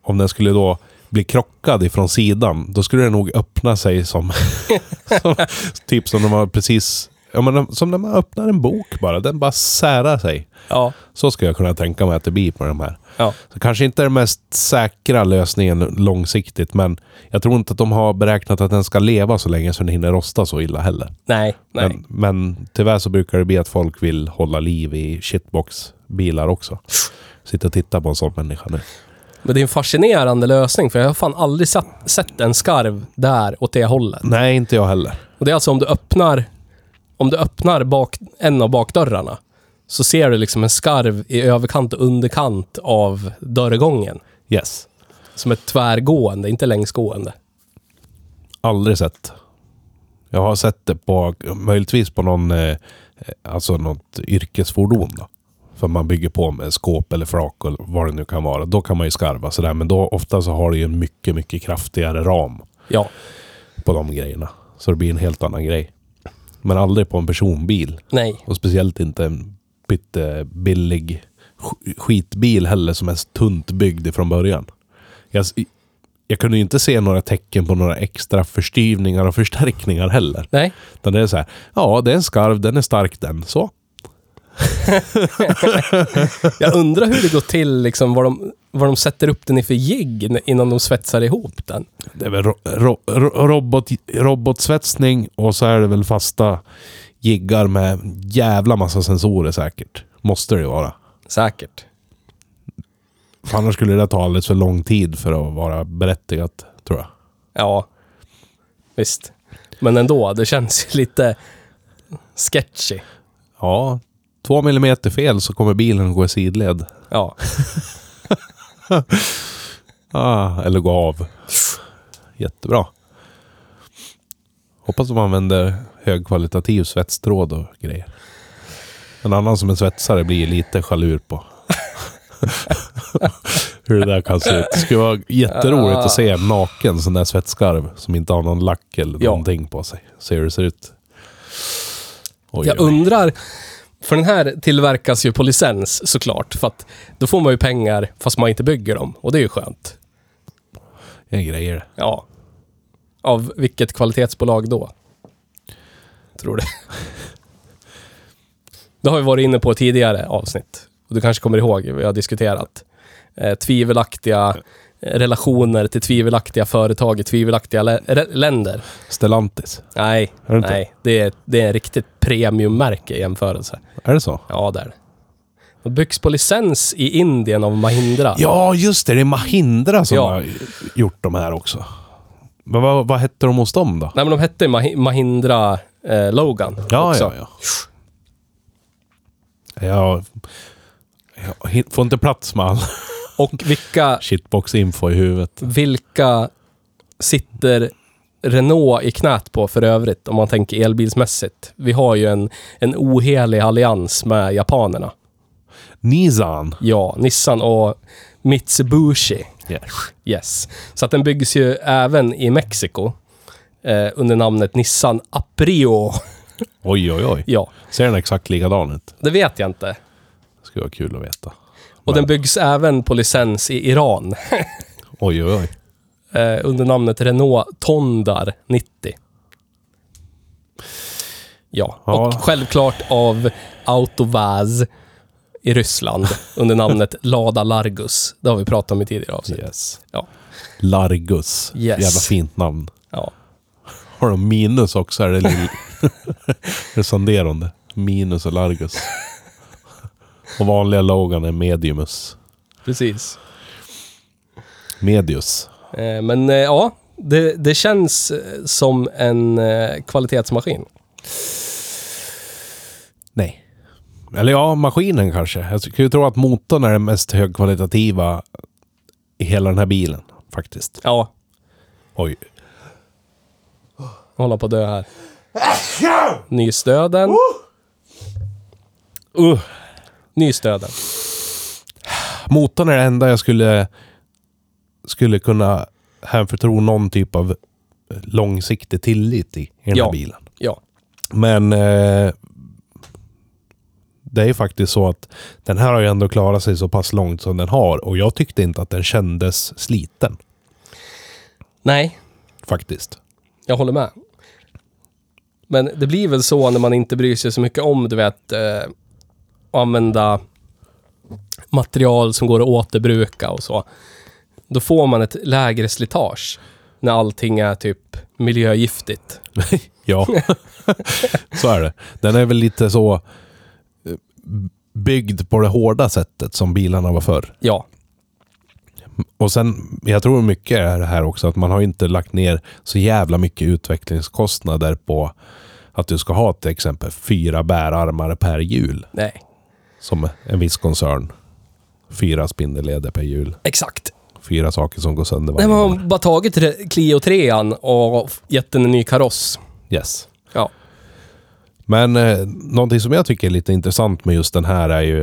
Om den skulle då bli krockad ifrån sidan, då skulle den nog öppna sig som... som typ som när man precis... Ja, men, som när man öppnar en bok bara. Den bara särar sig.
Ja.
Så skulle jag kunna tänka mig att det blir på de här.
Ja.
Så kanske inte den mest säkra lösningen långsiktigt, men jag tror inte att de har beräknat att den ska leva så länge så den hinner rosta så illa heller.
Nej. Nej.
Men, men tyvärr så brukar det bli att folk vill hålla liv i shitbox-bilar också. Sitta och titta på en sån människa nu.
Men det är en fascinerande lösning, för jag har fan aldrig satt, sett en skarv där åt det hållet.
Nej, inte jag heller.
Och det är alltså om du öppnar, om du öppnar bak, en av bakdörrarna, så ser du liksom en skarv i överkant och underkant av dörrgången.
Yes.
Som är tvärgående, inte längsgående.
Aldrig sett. Jag har sett det på, möjligtvis på någon, eh, alltså något yrkesfordon då. För man bygger på med skåp eller flak och vad det nu kan vara. Då kan man ju skarva sådär. Men då ofta så har det ju en mycket, mycket kraftigare ram
Ja.
på de grejerna. Så det blir en helt annan grej. Men aldrig på en personbil.
Nej.
Och speciellt inte en pyttebillig sk- skitbil heller som är så tunt byggd från början. Jag, s- jag kunde ju inte se några tecken på några extra förstyvningar och förstärkningar heller.
Nej.
Utan det är så här, ja det är en skarv, den är stark den. Så.
Jag undrar hur det går till, liksom, vad, de, vad de sätter upp den i för jigg innan de svetsar ihop den.
Det är väl ro, ro, ro, robot, robotsvetsning och så är det väl fasta jiggar med jävla massa sensorer säkert. Måste det ju vara.
Säkert.
För annars skulle det ta alldeles för lång tid för att vara berättigat, tror jag.
Ja, visst. Men ändå, det känns ju lite sketchy.
Ja, två millimeter fel så kommer bilen gå i sidled.
Ja,
Ah, eller gå av. Jättebra. Hoppas de använder högkvalitativ svetstråd och grejer. En annan som är svetsare blir lite chalur på. Hur det där kan se ut. Det skulle vara jätteroligt att se en naken sån där svetskarv som inte har någon lack eller
Ja.
någonting på sig. Se hur det ser ut. Oj,
jag
oj.
undrar. För den här tillverkas ju på licens såklart. För att då får man ju pengar fast man inte bygger dem. Och det är ju skönt.
Det är grejer.
Ja. Av vilket kvalitetsbolag då? Tror du? Det har vi varit inne på tidigare avsnitt. Och du kanske kommer ihåg, vi har diskuterat. Eh, tvivelaktiga eh, relationer till tvivelaktiga företag i tvivelaktiga lä- re- länder.
Stellantis.
Nej,
Är det inte?
nej. Det är, det är en riktigt premiummärke i jämförelse.
Är det så?
Ja, där. De byggs på licens i Indien av Mahindra.
Ja, just det. Det är Mahindra som
Ja.
har gjort de här också. Men vad, vad hette de hos dem då?
Nej, men de hette Mahi- Mahindra eh, Logan
Ja,
också.
ja, ja. Jag, jag hin- får inte plats med all
Och vilka,
shitbox-info i huvudet.
vilka sitter Renault i knät på för övrigt, om man tänker elbilsmässigt? Vi har ju en, en ohelig allians med japanerna.
Nissan.
Ja, Nissan och Mitsubishi. Yes. Så att den byggs ju även i Mexiko eh, under namnet Nissan Aprio.
Oj, oj, oj.
Ja,
Ser den exakt likadan ut?
det vet jag inte.
Det skulle vara kul att veta.
Och den byggs även på licens i Iran
Oj, oj, oj.
eh, under namnet Renault Tondar 90. Ja,
Ja.
och självklart av Autovaz i Ryssland under namnet Lada Largus. Det har vi pratat om i tidigare avsnitt.
Yes.
Ja.
Largus.
Yes.
Jävla fint namn.
Ja.
Har de minus också? Är det, lill... är det sonderande? Minus och Largus. Och vanliga Logan är Mediumus.
Precis.
Medius.
Eh, Men eh, ja, det, det känns eh, som en eh, kvalitetsmaskin.
Nej. Eller ja, maskinen kanske. Jag skulle tro att motorn är den mest högkvalitativa i hela den här bilen. Faktiskt.
Ja,
Oj.
hålla på att dö här. Nystöden.
Uh.
Nystöden.
Motorn är det enda jag skulle, skulle kunna hänförtro någon typ av långsiktig tillit i, i den
Ja.
här bilen.
Ja.
Men eh, det är ju faktiskt så att den här har ju ändå klarat sig så pass långt som den har och jag tyckte inte att den kändes sliten
Nej,
faktiskt.
jag håller med. Men det blir väl så när man inte bryr sig så mycket om, du vet, eh, att använda material som går att återbruka och så. Då får man ett lägre slitage när allting är typ miljögiftigt.
Ja, så är det. Den är väl lite så eh, byggd på det hårda sättet som bilarna var förr.
Ja,
Och sen, jag tror mycket är det här också att man har inte lagt ner så jävla mycket utvecklingskostnader på att du ska ha till exempel fyra bärarmar per hjul
nej,
som en viss koncern. Fyra spindelleder per hjul.
exakt.
Fyra saker som går sönder
Nej,
varje
man
år.
har bara tagit re- Clio 3 och f- gett den en ny kaross.
Yes.
Ja.
Men eh, någonting som jag tycker är lite intressant med just den här är ju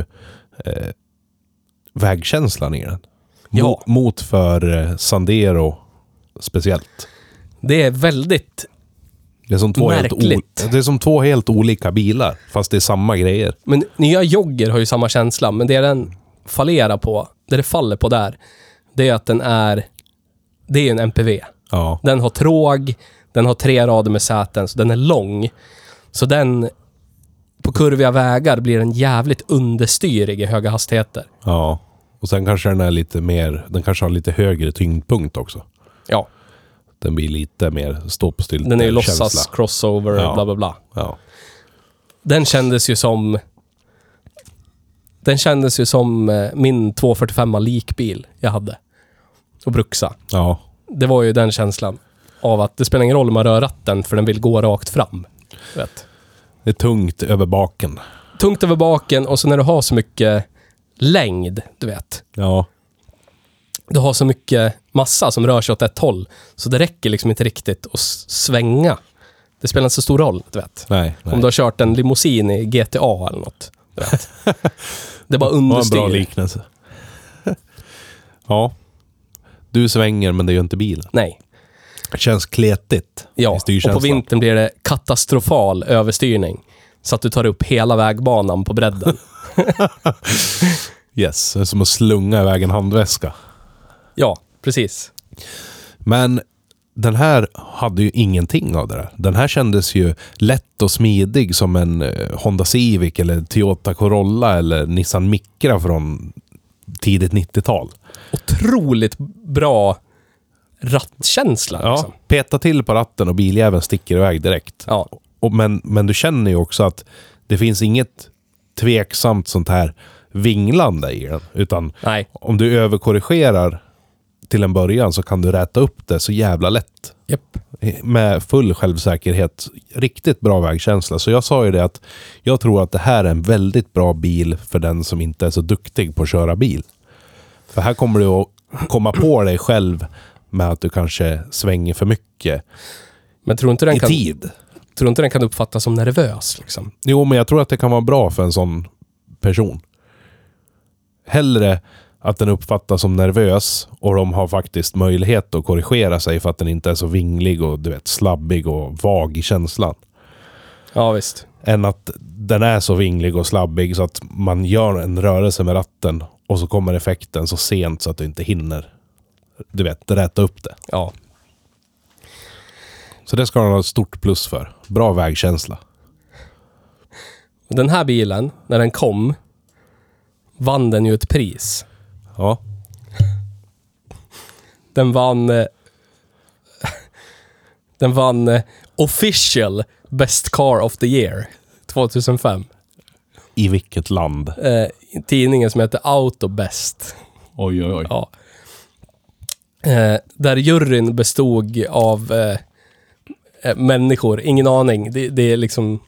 eh, vägkänslan i den.
Ja.
Mot, mot för eh, Sandero speciellt.
Det är väldigt...
Det är, som två helt o-
Märkligt.
det är som två helt olika bilar, fast det är samma grejer.
Men nya jogger har ju samma känsla, men det den fallerar på, det det faller på där, det är att den är... Det är ju en MPV.
Ja,
Den har tråg, den har tre rader med säten, så den är lång. Så den... På kurviga vägar blir den jävligt understyrig i höga hastigheter.
ja. Och sen kanske den är lite mer, den kanske har lite högre tyngdpunkt också.
Ja,
Den blir lite mer ståuppstylt.
den är ju
känsla.
låtsas, crossover,
Ja.
bla bla bla.
Ja.
Den kändes ju som Den kändes ju som eh, min 245 likbil jag hade. Och bruksa.
Ja.
Det var ju den känslan. Av att det spelar ingen roll om man rör ratten för den vill gå rakt fram. Du Vet.
Det är tungt över baken.
Tungt över baken och så när du har så mycket längd, du vet.
Ja.
Du har så mycket massa som rör sig åt ett håll. Så det räcker liksom inte riktigt att s- svänga. Det spelar inte så stor roll, du vet.
Nej. nej.
Om du har kört en limousin i GTA eller något. Du vet. Det är bara
Det var en bra
understyr.
liknelse. ja. Du svänger, men det gör inte bilen.
Nej.
Det känns kletigt
Ja,
i
och på
styrkänslan.
vintern blir det katastrofal överstyrning. Så att du tar upp hela vägbanan på bredden.
Yes, det är som att slunga iväg en handväska.
ja, precis.
Men den här hade ju ingenting av det där. Den här kändes ju lätt och smidig som en eh, Honda Civic eller Toyota Corolla eller Nissan Micra från tidigt 90-tal.
Otroligt bra rattkänsla. Ja. Liksom.
Peta till på ratten och biljäveln sticker iväg direkt.
ja.
Och, men, men du känner ju också att det finns inget tveksamt sånt här vinglande i den. Utan
Nej,
om du överkorrigerar till en början så kan du räta upp det så jävla lätt.
Japp.
Med full självsäkerhet. Riktigt bra vägkänsla. Så jag sa ju det att jag tror att det här är en väldigt bra bil för den som inte är så duktig på att köra bil. För här kommer du att komma på dig själv med att du kanske svänger för mycket
men tror inte, den
i
kan,
tid.
tror inte den kan uppfattas som nervös? Liksom?
Jo, men jag tror att det kan vara bra för en sån person. Hellre att den uppfattas som nervös och de har faktiskt möjlighet att korrigera sig för att den inte är så vinglig och du vet, slabbig och vag i känslan.
Ja, visst.
Än att den är så vinglig och slabbig så att man gör en rörelse med ratten och så kommer effekten så sent så att du inte hinner du vet, räta upp det.
Ja.
Så det ska den ha ett stort plus för. Bra vägkänsla.
Den här bilen, när den kom, vann den ju ett pris.
Ja.
Den vann... eh, den vann eh, official Best Car of the Year 2005.
I vilket land?
Eh, tidningen som heter Autobest.
Oj, oj, oj.
Ja. Eh, där juryn bestod av eh, eh, människor, ingen aning. Det, det är liksom...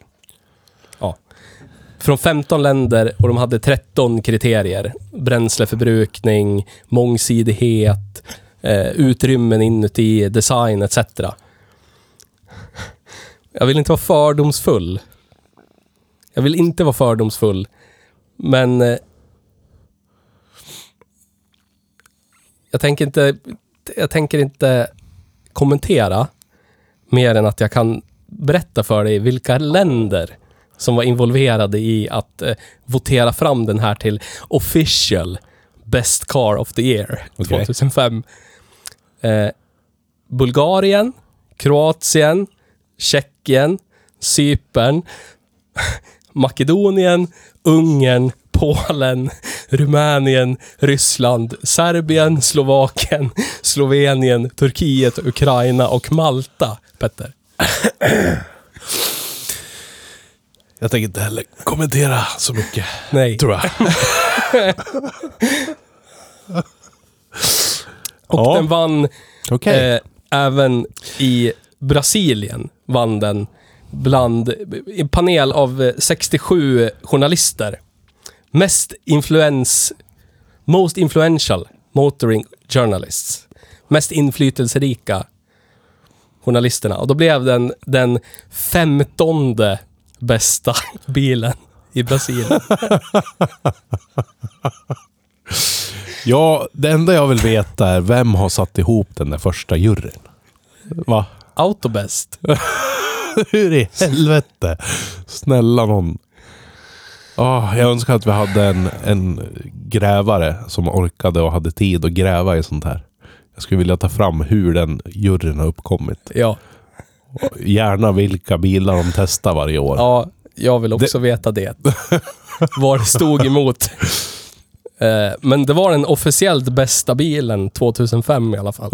Ja. Från 15 länder och de hade 13 kriterier. Bränsleförbrukning, mångsidighet, eh, utrymmen inuti, design etc. Jag vill inte vara fördomsfull. Jag vill inte vara fördomsfull. Men eh, jag tänker inte, jag tänker inte kommentera mer än att jag kan berätta för dig vilka länder som var involverade i att eh, votera fram den här till official Best Car of the Year
Okej.
2005. Eh, Bulgarien, Kroatien, Tjeckien, Cypern, Makedonien, Ungern, Polen, Rumänien, Ryssland, Serbien, Slovakien, Slovenien, Turkiet, Ukraina och Malta, Petter.
Jag tänker inte heller kommentera så mycket,
Nej.
tror jag.
Och
Ja.
den vann
Okej.
eh, även i Brasilien, vann den bland i en panel av eh, 67 journalister. Mest influens, most influential motoring journalists. Mest inflytelserika journalisterna. Och då blev den den femtonde bästa bilen i Brasilien.
Ja, det enda jag vill veta är vem har satt ihop den där första juryn? Va?
Autobest.
Hur i helvete? Snälla någon. Ah, jag önskar att vi hade en, en grävare som orkade och hade tid att gräva i sånt här. Jag skulle vilja ta fram hur den juryn har uppkommit.
Ja,
Och Gärna vilka bilar de testar varje år.
ja jag vill också veta det. Vad det stod emot. Eh, Men det var den officiellt bästa bilen 2005 i alla fall.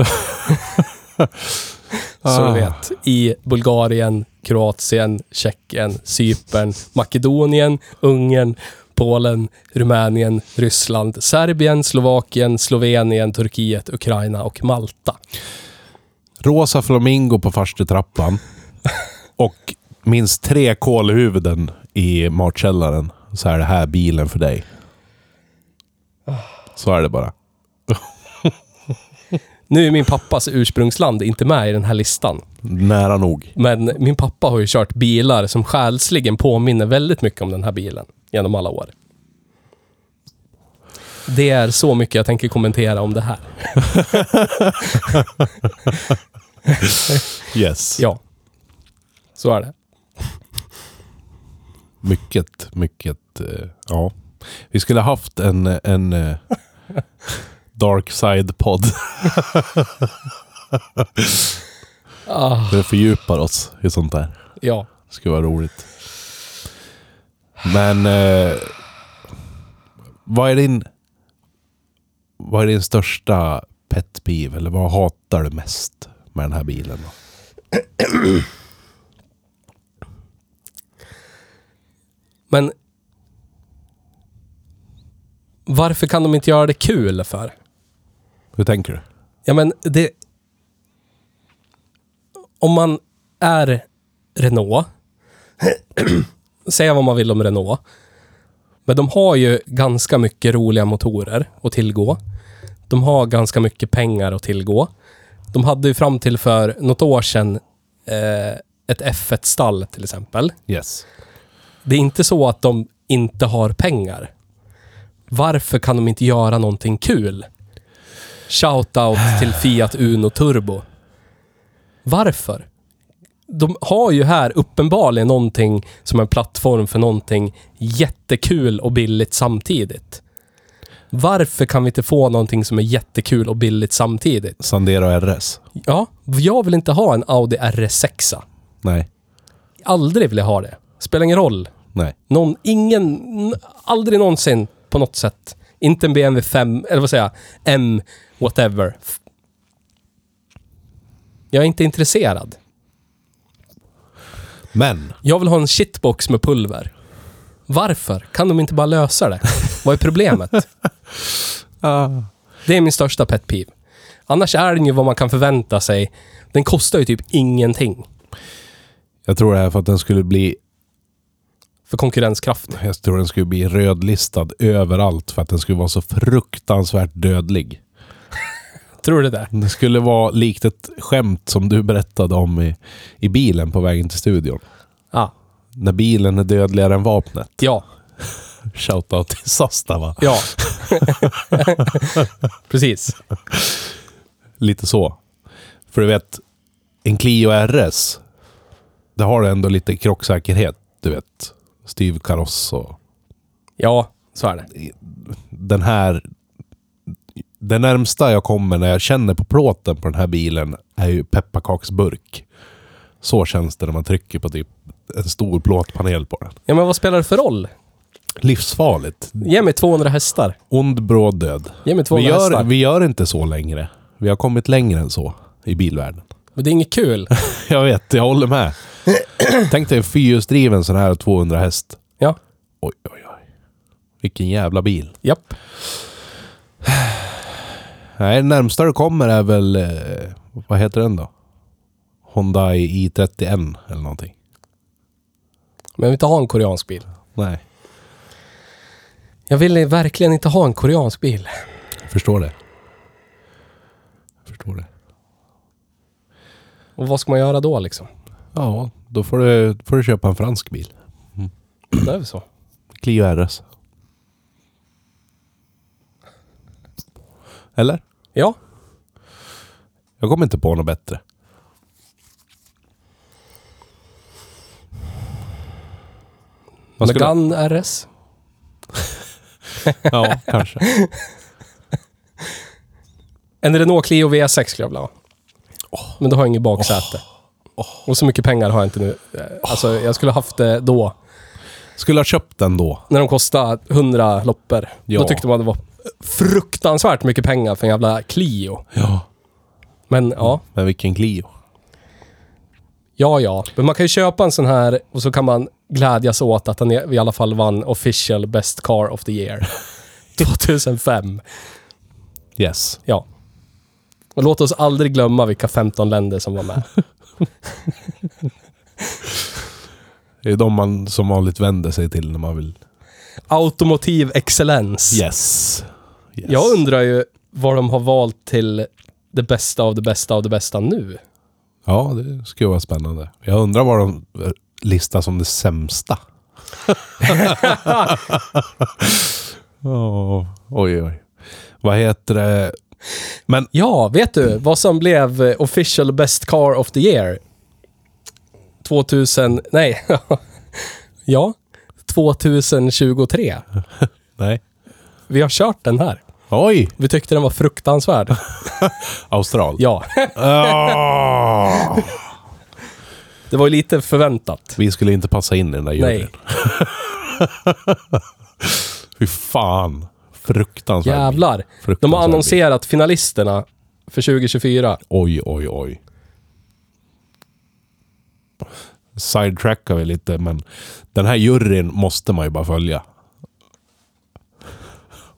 Så du vet, i Bulgarien, Kroatien, Tjeckien, Cypern, Makedonien, Ungern, Polen, Rumänien, Ryssland, Serbien, Slovakien, Slovenien, Turkiet, Ukraina och Malta.
Rosa flamingo på farstutrappan. Och minst tre kolhuvuden i matkällaren. Så är det här bilen för dig. Så är det bara.
Nu är min pappas ursprungsland inte med i den här listan.
Nära nog.
Men min pappa har ju kört bilar som själsligen påminner väldigt mycket om den här bilen genom alla år. Det är så mycket jag tänker kommentera om det här.
Yes.
Ja. Så är det.
Mycket, mycket. eh, Ja. Vi skulle haft en, eh, en eh, Dark Side-podd.
Ah,
Vi fördjupar oss i sånt där.
ja.
Det skulle vara roligt. Men... Eh, vad är din... Vad är din största pet peeve? Eller vad hatar du mest med den här bilen? Då?
Men varför kan de inte göra det kul för?
Hur tänker du?
Ja, men det... Om man är Renault, säga vad man vill om Renault, men de har ju ganska mycket roliga motorer att tillgå. De har ganska mycket pengar att tillgå. De hade ju fram till för något år sedan eh, ett F1-stall till exempel.
Yes.
Det är inte så att de inte har pengar. Varför kan de inte göra någonting kul? Shoutout till Fiat Uno Turbo. Varför? De har ju här uppenbarligen någonting som en plattform för någonting jättekul och billigt samtidigt. Varför kan vi inte få någonting som är jättekul och billigt samtidigt?
Sandero RS?
Ja, jag vill inte ha en Audi RS6. a.
Nej.
Aldrig vill jag ha det. Spelar ingen roll
Nej.
någon, ingen, n- aldrig någonsin på något sätt. Inte en BMW 5, eller vad säger jag, M, whatever. F- Jag är inte intresserad.
Men.
Jag vill ha en shitbox med pulver. Varför? Kan de inte bara lösa det? Vad är problemet? Det är min största pet peeve. Annars är den ju vad man kan förvänta sig. Den kostar ju typ ingenting
Jag tror det här för att den skulle bli...
för konkurrenskraft.
Jag tror den skulle bli rödlistad överallt för att den skulle vara så fruktansvärt dödlig.
Tror du det? Där?
Det skulle vara likt ett skämt som du berättade om i, i bilen på vägen till studion.
Ah.
När bilen är dödligare än vapnet.
Ja.
Shoutout till Sastava.
Ja. Precis.
Lite så. För du vet, en Clio RS, det har ändå lite krocksäkerhet. Du vet, styv kaross och...
Ja, så är det.
Den här... Det närmsta jag kommer när jag känner på plåten på den här bilen är ju pepparkaksburk. Så känns det när man trycker på typ en stor plåtpanel på den.
Ja, men vad spelar det för roll?
Livsfarligt.
Ge mig 200 hästar.
Ond, bråd död.
Ge mig
Vi
200
gör,
hästar.
vi gör inte så längre. Vi har kommit längre än så i bilvärlden.
Men det är inget kul.
Jag vet, jag håller med. Tänk dig en fyrhjulsdriven sån här 200 häst.
Ja.
Oj, oj, oj. Vilken jävla bil.
Japp.
Nej, det närmsta du kommer är väl... eh, Vad heter den då? Hyundai i30N eller någonting.
Men jag vill inte ha en koreansk bil.
Nej,
Jag vill verkligen inte ha en koreansk bil.
jag förstår det. Jag förstår det.
Och vad ska man göra då liksom?
Ja, då får du, får du köpa en fransk bil.
Det är väl så.
Clio RS. Eller?
Ja.
Jag kommer inte på något bättre. Vad skulle-
Megane RS.
Ja, kanske.
En Renault Clio V6 skulle jag vilja ha. Men då har jag inget baksäte. Och så mycket pengar har jag inte nu. Eh, Alltså, jag skulle haft det då.
Skulle ha köpt den då.
När de kostade 100 loppor.
Ja.
Då tyckte man det var fruktansvärt mycket pengar för en jävla Clio.
Ja.
Men ja,
Men vilken Clio.
Ja, ja. Men man kan ju köpa en sån här och så kan man glädjas åt att han i i alla fall vann official best car of the year. 2005.
Yes.
Ja. Och låt oss aldrig glömma vilka 15 länder som var med.
Det är de man som vanligt vänder sig till när man vill...
Automotiv excellens.
Yes. yes.
Jag undrar ju vad de har valt till det bästa av det bästa av det bästa nu.
Ja, det skulle vara spännande. Jag undrar vad de eh, listar som det sämsta. Åh, oj, oj. Vad heter det? Men
Ja, vet du vad som blev eh, official best car of the year? 2000... Nej. ja. 2023.
nej.
Vi har kört den här.
Oj!
Vi tyckte den var fruktansvärd.
Austral.
Ja,
Ah,
det var ju lite förväntat.
vi skulle inte passa in i den där
Nej.
juryn. Fy fan. Fruktansvärt.
Jävlar. De har
Fruktansvärt.
annonserat finalisterna för 2024.
Oj, oj, oj. Sidetrackar vi lite, men den här juryn måste man ju bara följa.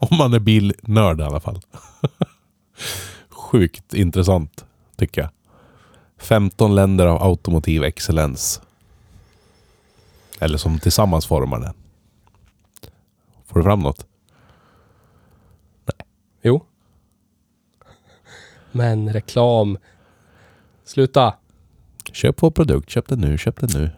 Om man är bilnörd i alla fall. Sjukt intressant, tycker jag. 15 länder av automotiv excellens. Eller som tillsammans formar den. Får du fram något?
Jo. Men reklam. Sluta.
Köp vår produkt, köp den nu, köp den nu.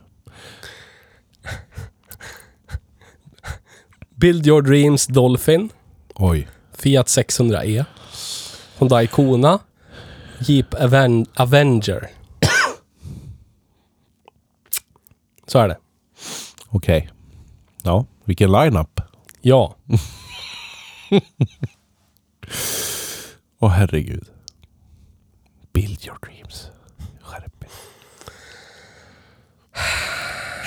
Build your dreams Dolphin.
Oj.
Fiat 600e. Hyundai Kona. Jeep Aven Avenger. Så är det.
Okej. Ja, vilken line-up.
Ja.
Åh herregud. Build your dreams. Skärp er.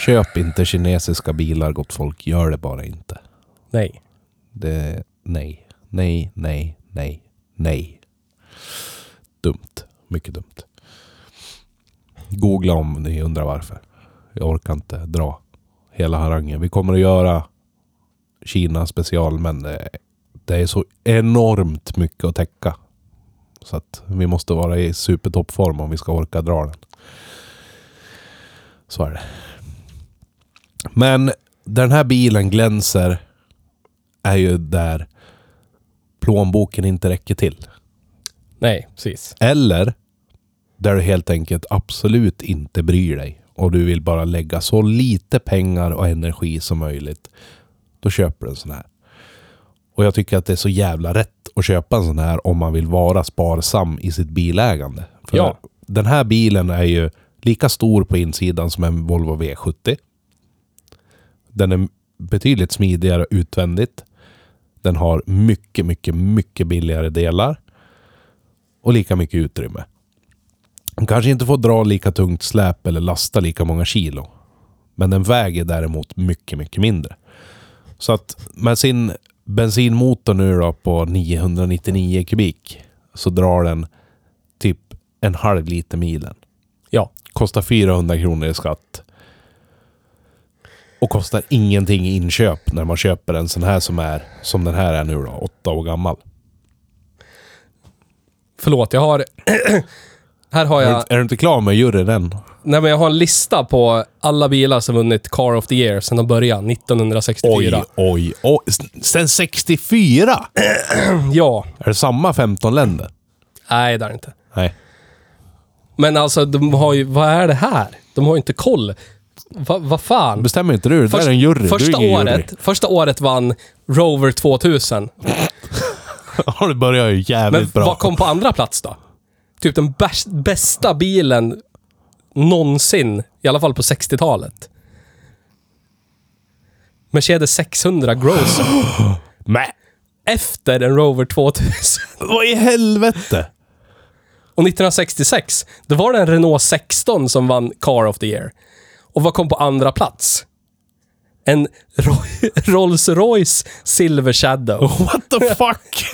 Köp inte kinesiska bilar gott folk. Gör det bara inte.
Nej.
Det... Nej. Nej, nej, nej, nej. Dumt. Mycket dumt. Googla om ni undrar varför. Jag orkar inte dra hela harangen. Vi kommer att göra Kina special, men det, det är så enormt mycket att täcka. Så att vi måste vara i supertoppform om vi ska orka dra den. Så är det. Men den här bilen glänser är ju där plånboken inte räcker till.
Nej, precis.
Eller där du helt enkelt absolut inte bryr dig och du vill bara lägga så lite pengar och energi som möjligt. Då köper du en sån här. Och jag tycker att det är så jävla rätt att köpa en sån här om man vill vara sparsam i sitt bilägande. För
Ja.
den här bilen är ju lika stor på insidan som en Volvo V70. Den är betydligt smidigare utvändigt. Den har mycket, mycket, mycket billigare delar. Och lika mycket utrymme. Den kanske inte får dra lika tungt släp eller lasta lika många kilo. Men den väger däremot mycket, mycket mindre. Så att med sin bensinmotor nu då på 999 kubik så drar den typ en halv liter milen.
Ja.
Kostar 400 kronor i skatt. Och kostar ingenting i inköp när man köper en sån här som är som den här är nu då, åtta år gammal.
Förlåt, jag har... här har
Är,
jag...
du, är du inte klar med juryn än?
Nej, men jag har en lista på alla bilar som vunnit Car of the Year sedan de började 1964.
oj, oj. S- Sen 64!
Ja.
Är det samma 15 länder?
Nej, det är det inte.
Nej.
Men alltså, de har ju... Vad är det här? De har ju inte koll. Va- Vad fan?
Bestämmer inte du? det där är en jury. du
första,
är ingen
året, första året vann Rover 2000.
Jury. Ja, det börjar ju jävligt
Men
bra.
vad kom på andra plats då? Typ den bäst, bästa bilen någonsin, i alla fall på 60-talet. Mercedes 600 Grosser.
Mä.
efter en Rover 2000.
Vad i helvete?
Och 1966, då var det en Renault 16 som vann Car of the Year. Och vad kom på andra plats? En Roy- Rolls-Royce Silver Shadow.
What the fuck?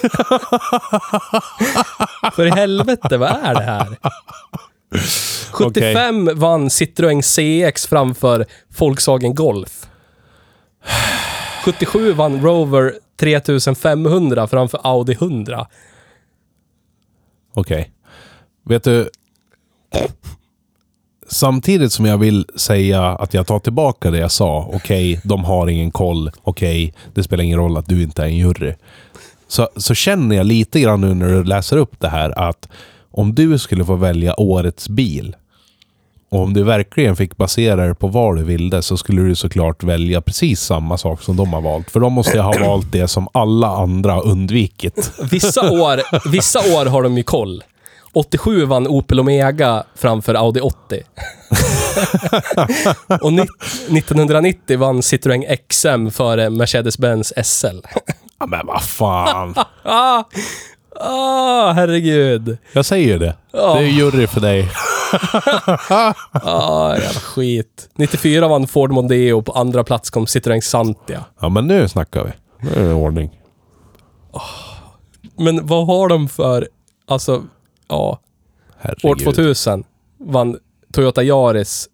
För i helvete, vad är det här? 75 vann Citroën CX framför Volkswagen Golf. 77 vann Rover 3500 framför Audi 100.
Okej. Vet du... Samtidigt som jag vill säga att jag tar tillbaka det jag sa. Okej, de har ingen koll. Okej, det spelar ingen roll att du inte är en jury. Så, så känner jag lite grann nu när du läser upp det här att om du skulle få välja årets bil och om du verkligen fick basera det på vad du ville så skulle du såklart välja precis samma sak som de har valt. För de måste ju ha valt det som alla andra har undvikit.
Vissa år, vissa år har de ju koll. 87 vann Opel Omega framför Audi 80. Och ni- 1990 vann Citroën XM före Mercedes-Benz SL.
Ja, men vad fan!
Ah, ah herregud.
Jag säger ju det.
Ja.
Det är jury för dig.
Ah, jävla skit. 94 vann Ford Mondeo, på andra plats kom Citroën Santia.
Ja, men nu snackar vi. Nu är det ordning.
Men vad har de för... Alltså, ja.
Herregud.
År 2000 vann Toyota Yaris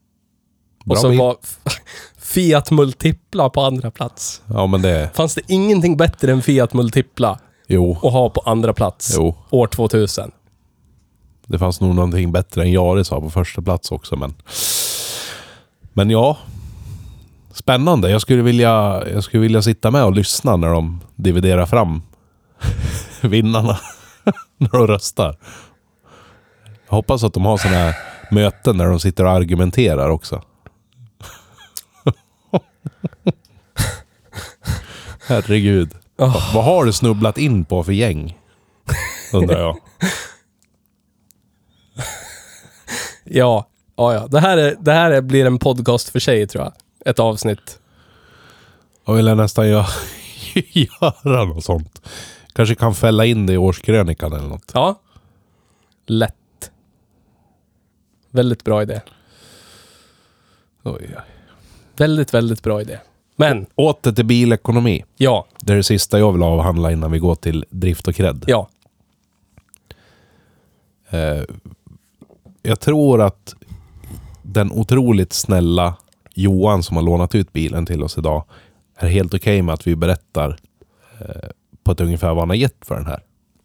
Bra
och så
bil.
var Fiat Multipla på andra plats.
Ja, men det...
Fanns det ingenting bättre än Fiat Multipla
Jo.
att ha på andra plats
Jo.
år 2000?
Det fanns nog någonting bättre än Jaris har på första plats också, men... Men ja. Spännande. Jag skulle vilja, jag skulle vilja sitta med och lyssna när de dividerar fram vinnarna. när de röstar. Jag hoppas att de har sådana här möten där de sitter och argumenterar också. Herregud.
Oh.
Vad har du snubblat in på för gäng? Undrar jag.
Ja, ja, ja. Det här, är, det här är, blir en podcast för sig tror jag. Ett avsnitt.
Jag vill nästan göra, göra något sånt. Kanske kan fälla in det i årskrönikan eller något.
Ja. Lätt. Väldigt bra idé.
Oj, oj.
Väldigt, väldigt bra idé. Men,
Åter till bilekonomi.
ja,
Det är det sista jag vill avhandla innan vi går till drift och cred.
ja.
Eh, jag tror att den otroligt snälla Johan som har lånat ut bilen till oss idag är helt okej med att vi berättar eh, på ett ungefär vad han har gett för den här.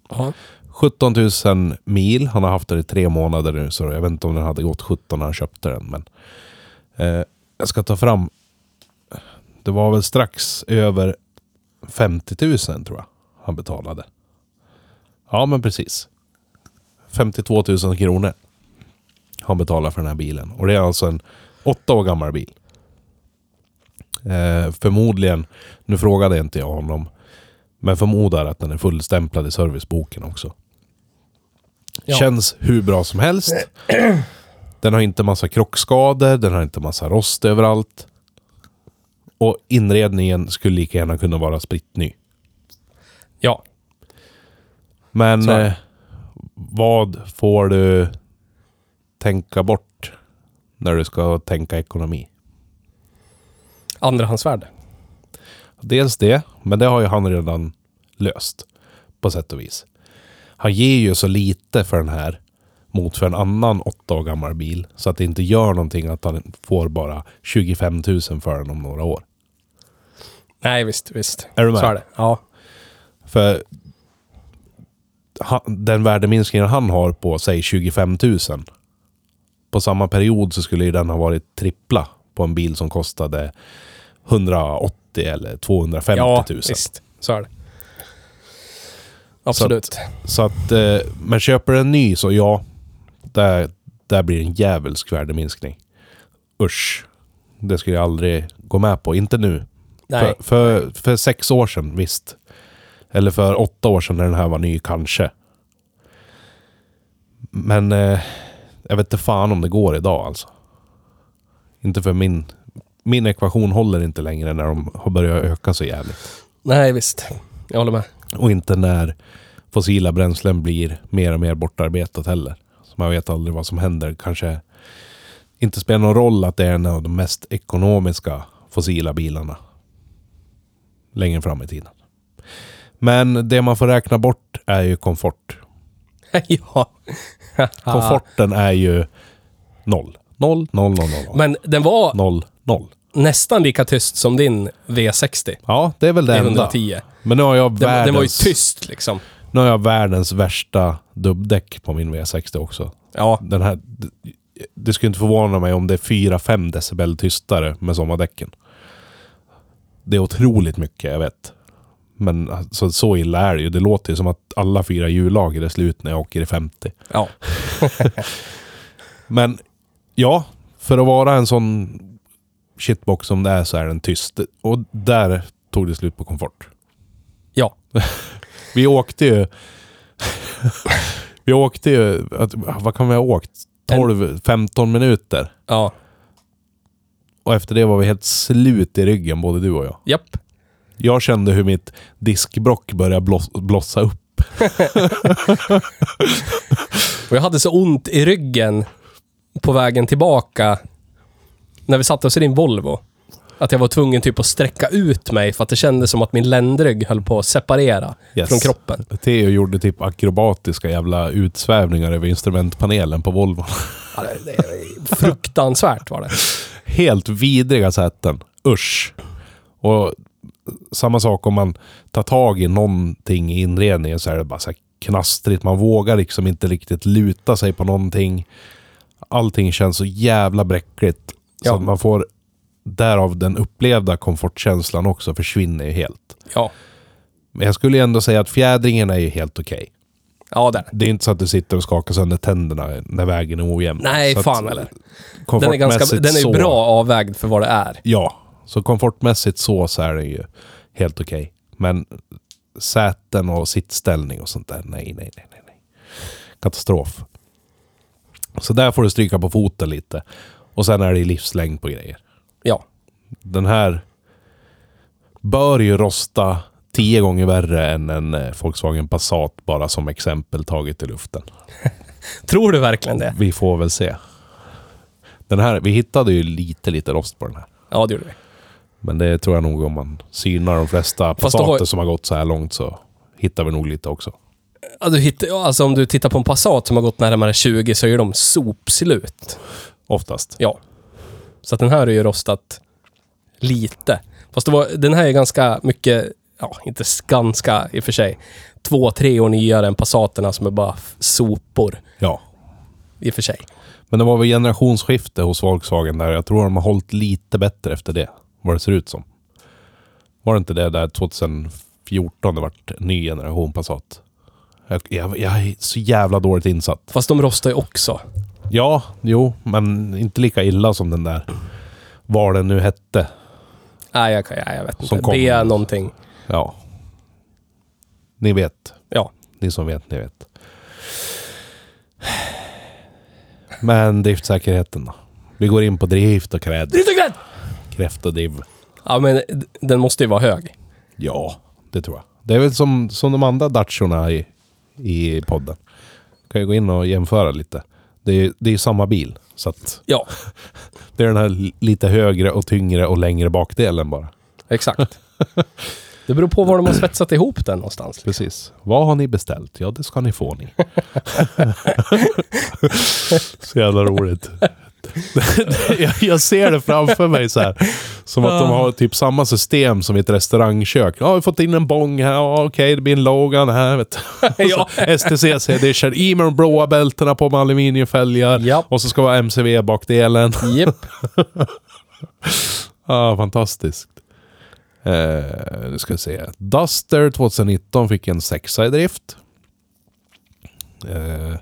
Ja.
17 000 mil. Han har haft den i tre månader nu, så jag vet inte om den hade gått 17 när han köpte den. Men, eh, jag ska ta fram... Det var väl strax över 50 000 tror jag han betalade. Ja, men precis. 52 000 kronor han betalar för den här bilen. Och det är alltså en åtta år gammal bil. Eh, förmodligen, nu frågade inte jag honom, men förmodar att den är fullstämplad i serviceboken också.
Ja.
Känns hur bra som helst. Den har inte massa krockskador, den har inte massa rost överallt. Och inredningen skulle lika gärna kunna vara spritt ny.
ja.
Men
Så är det.
eh, vad får du tänka bort när du ska tänka ekonomi?
Andrahandsvärde.
Dels det, men det har ju han redan löst på sätt och vis. Han ger ju så lite för den här mot för en annan åtta år gammal bil så att det inte gör någonting att han får bara 25 000 för den om några år.
Nej, visst, visst.
Är du med?
Så är det. Ja.
För han, den värdeminskningen han har på, säg 25 000. På samma period så skulle ju den ha varit trippla på en bil som kostade 180 eller 250
ja,
000.
visst. Så är det. Absolut.
Så att, eh, men köper du en ny så ja, där, där blir det en djävulsk värdeminskning. Usch. Det skulle jag aldrig gå med på. Inte nu.
Nej.
För, för, för sex år sedan, visst. Eller för åtta år sedan när den här var ny, kanske. Men eh, jag vet inte fan om det går idag alltså. Inte för min... Min ekvation håller inte längre när de har börjat öka så jävligt.
Nej, visst. Jag håller med.
Och inte när fossila bränslen blir mer och mer bortarbetat heller. Så man vet aldrig vad som händer. Kanske inte spelar någon roll att det är en av de mest ekonomiska fossila bilarna. Längre fram i tiden. Men det man får räkna bort är ju komfort.
ja.
Komforten är ju noll. Noll, noll, noll, noll.
Men den var
Noll, noll.
nästan lika tyst som din V60.
Ja, det är väl det enda.
110.
Men nu har jag
Den,
världens...
den var ju tyst liksom.
Nu har jag världens värsta dubbdäck på min V60 också.
Ja.
Den här... d- Det skulle inte förvåna mig om det är 4-5 decibel tystare med sommardäcken. Det är otroligt mycket, jag vet. Men alltså, så illa är det ju. Det låter ju som att alla fyra hjullager är slut när jag åker i 50.
ja.
Men ja, för att vara en sån shitbox som det är så är den tyst. Och där tog det slut på komfort.
Ja.
Vi åkte ju... vi åkte ju... Att, vad kan vi ha åkt? 12-15 minuter.
Ja.
Och efter det var vi helt slut i ryggen, både du och jag.
Japp.
Jag kände hur mitt diskbrock började bloss, blossa upp.
Och jag hade så ont i ryggen på vägen tillbaka när vi satte oss i din Volvo. Att jag var tvungen typ att sträcka ut mig för att det kändes som att min ländrygg höll på att separera
Yes.
från kroppen.
Theo gjorde typ akrobatiska jävla utsvävningar över instrumentpanelen på Volvo.
Ja, det- det är Fruktansvärt var det.
helt vidriga sätten. Usch. Och samma sak om man tar tag i någonting i inredningen så är det bara så här knastrigt. Man vågar liksom inte riktigt luta sig på någonting. Allting känns så jävla bräckligt. Så
Ja.
att man får därav den upplevda komfortkänslan också försvinner ju helt.
Ja,
Men jag skulle ju ändå säga att fjädringen är ju helt okej.
ja där.
Det är inte så att du sitter och skakar sönder tänderna när vägen är ojämn.
Nej,
så att
fan eller. Den är, ganska,
komfortmässigt
den är ju
så-
bra avvägd för vad det är.
Ja, så komfortmässigt så, så är den ju helt okej. Men säten och sittställning och sånt där, nej, nej, nej, nej. nej. Katastrof. Så där får du stryka på foten lite. Och sen är det ju livslängd på grejer.
Ja,
Den här bör ju rosta tio gånger värre än en eh, Volkswagen Passat, bara som exempel taget i luften.
tror du verkligen det?
Vi får väl se. Den här, vi hittade ju lite, lite rost på den här.
Ja, det gjorde vi.
Men det tror jag nog om man synar de flesta
Fast då
passater
har-
som har gått så här långt så hittar vi nog lite också.
Ja, du hittar, ja, alltså om du tittar på en Passat som har gått närmare 20 så är ju de sopslut.
Oftast.
Ja. Så att den här är ju rostat lite. Fast det var, den här är ganska mycket, ja, inte ganska i och för sig. Två, tre år nyare än Passaterna som är bara f- sopor
Ja.
i och för sig.
Men det var väl generationsskifte hos Volkswagen där. Jag tror de har hållit lite bättre efter det. Vad det ser ut som. Var det inte det där 2014 det vart ny generation Passat? Jag, jag, jag är så jävla dåligt insatt.
Fast de rostar ju också.
Ja, jo, men inte lika illa som den där. Vad den nu hette.
Nej, jag, kan- nej, jag vet inte.
Som kom.
Det är någonting.
Ja. Ni vet.
Ja.
Ni som vet, ni vet. Men driftsäkerheten då? Vi går in på drift och kräd.
Drift och grädd!
Kräft och div.
Ja, men d- den måste ju vara hög.
Ja, det tror jag. Det är väl som, som de andra Daciorna i, i podden. kan ju gå in och jämföra lite. Det är ju det är ju samma bil. Så att
Ja,
det är den här li- lite högre och tyngre och längre bakdelen bara.
exakt. Det beror på var de har svetsat ihop den någonstans.
Precis. Vad har ni beställt? Ja, det ska ni få ni. så jävla roligt. jag, jag ser det framför mig så här. Som att de har typ samma system som i ett restaurangkök. Ja, vi har fått in en bong här. Ja, okej, det blir en Logan här. Vet du.
Ja.
STCC edition. I med de blåa bältena på med aluminiumfälgar.
Japp.
Och så ska det vara MCV-bakdelen.
Japp.
Ja, fantastiskt. Eh, nu ska vi se. Duster 2019 fick en sexa i drift. Eh,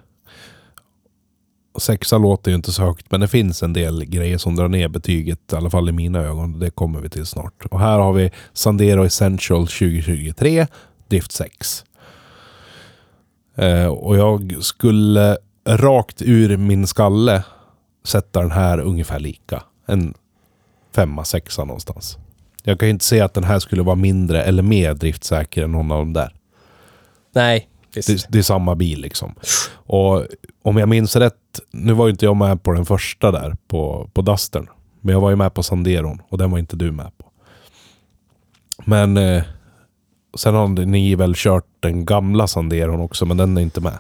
och sexa låter ju inte så högt, men det finns en del grejer som drar ner betyget, i alla fall i mina ögon. Det kommer vi till snart. Och här har vi Sandero Essential 2023, drift 6. Eh, och jag skulle rakt ur min skalle sätta den här ungefär lika. En femma, sexa någonstans. Jag kan ju inte säga att den här skulle vara mindre eller mer driftsäker än någon av de där.
Nej, visst.
Det, det är samma bil liksom. Och om jag minns rätt, nu var ju inte jag med på den första där, på, på Dustern. Men jag var ju med på Sanderon och den var inte du med på. Men eh, sen har ni väl kört den gamla Sanderon också, men den är inte med.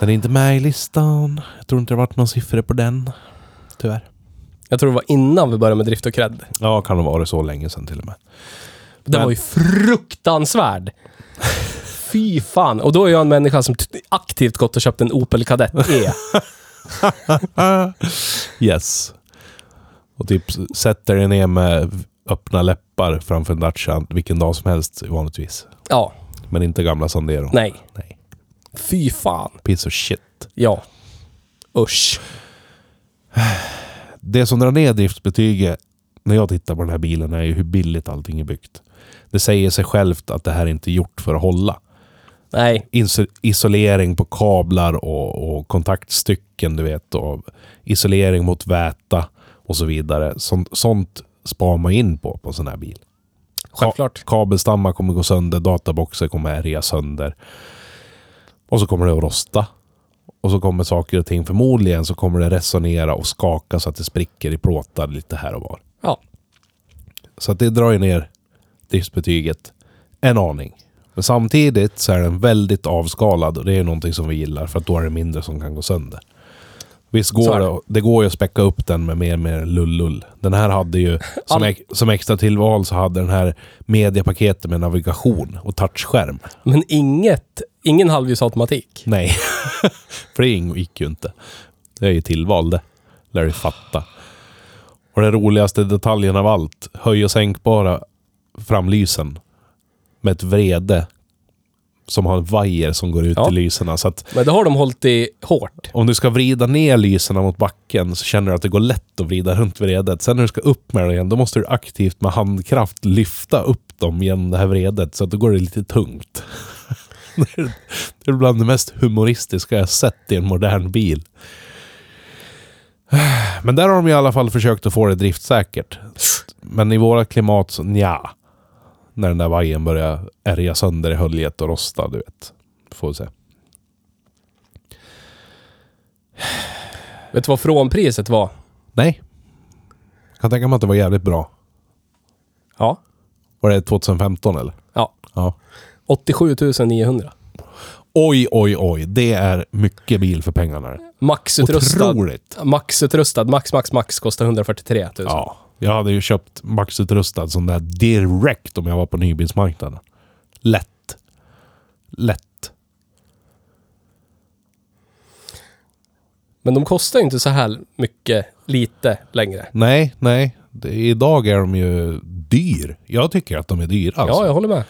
Den är inte med i listan. Jag tror inte det varit någon siffra på den. Tyvärr.
Jag tror det var innan vi började med Drift och Cred.
Ja, kan det vara så länge sedan till och med.
Den
Men-
var ju fruktansvärd. Fy fan. Och då är jag en människa som t- aktivt gått och köpt en Opel Kadett E.
Yes. Och typ sätter dig ner med öppna läppar framför en Dacia vilken dag som helst vanligtvis.
Ja,
Men inte gamla Sandero.
nej.
Nej.
Fy fan.
Piece of shit.
Ja. Usch.
Det som drar ner driftsbetyget när jag tittar på den här bilen är ju hur billigt allting är byggt. Det säger sig självt att det här är inte gjort för att hålla.
Nej.
Iso- isolering på kablar och, och kontaktstycken, du vet. Och isolering mot väta och så vidare. Sånt, sånt spar man in på, på en sån här bil.
Självklart.
Ka- kabelstammar kommer gå sönder, databoxar kommer ärga sönder. Och så kommer det att rosta. Och så kommer saker och ting, förmodligen så kommer det resonera och skaka så att det spricker i plåtar lite här och var.
Ja.
Så att det drar ju ner driftsbetyget en aning. Men samtidigt så är den väldigt avskalad och det är någonting som vi gillar för att då är det mindre som kan gå sönder. Visst
Så
går
är det.
det, det går ju att späcka upp den med mer mer lullull. Den här hade ju, som,
All-
ex, som extra tillval så hade den här mediapaketet med navigation och touchskärm.
Men inget, ingen halvljusautomatik.
Nej, för det gick ju inte. Det är ju tillval det. Lär du fatta. Och den roligaste detaljen av allt. Höj och sänkbara framlysen. Med ett vrede. Som har en vajer som går ut
Ja.
i lyserna. Så att
Men det har de hållit i hårt.
om du ska vrida ner lyserna mot backen så känner du att det går lätt att vrida runt vredet. Sen när du ska upp med det igen, då måste du aktivt med handkraft lyfta upp dem genom det här vredet. Så att då går det lite tungt. Det är- det är bland det mest humoristiska jag sett i en modern bil. Men där har de i alla fall försökt att få det driftsäkert. Men i våra klimat så nja. När den där vajern börjar ärga sönder i höljet och rosta, du vet. Får vi se.
Vet du vad frånpriset var?
Nej. Kan tänka mig att det var jävligt bra.
Ja.
Var det 2015 eller?
Ja.
Ja.
87 900.
Oj, oj, oj. Det är mycket bil för pengarna.
Maxutrustad.
Otroligt.
Maxutrustad. Max, max, max kostar 143 000.
Ja. Jag hade ju köpt maxutrustad sån där direkt om jag var på nybilsmarknaden. Lätt. Lätt.
Men de kostar ju inte så här mycket, lite längre.
Nej, nej. Det, idag är de ju dyr. Jag tycker att de är dyra alltså.
Ja, jag håller med.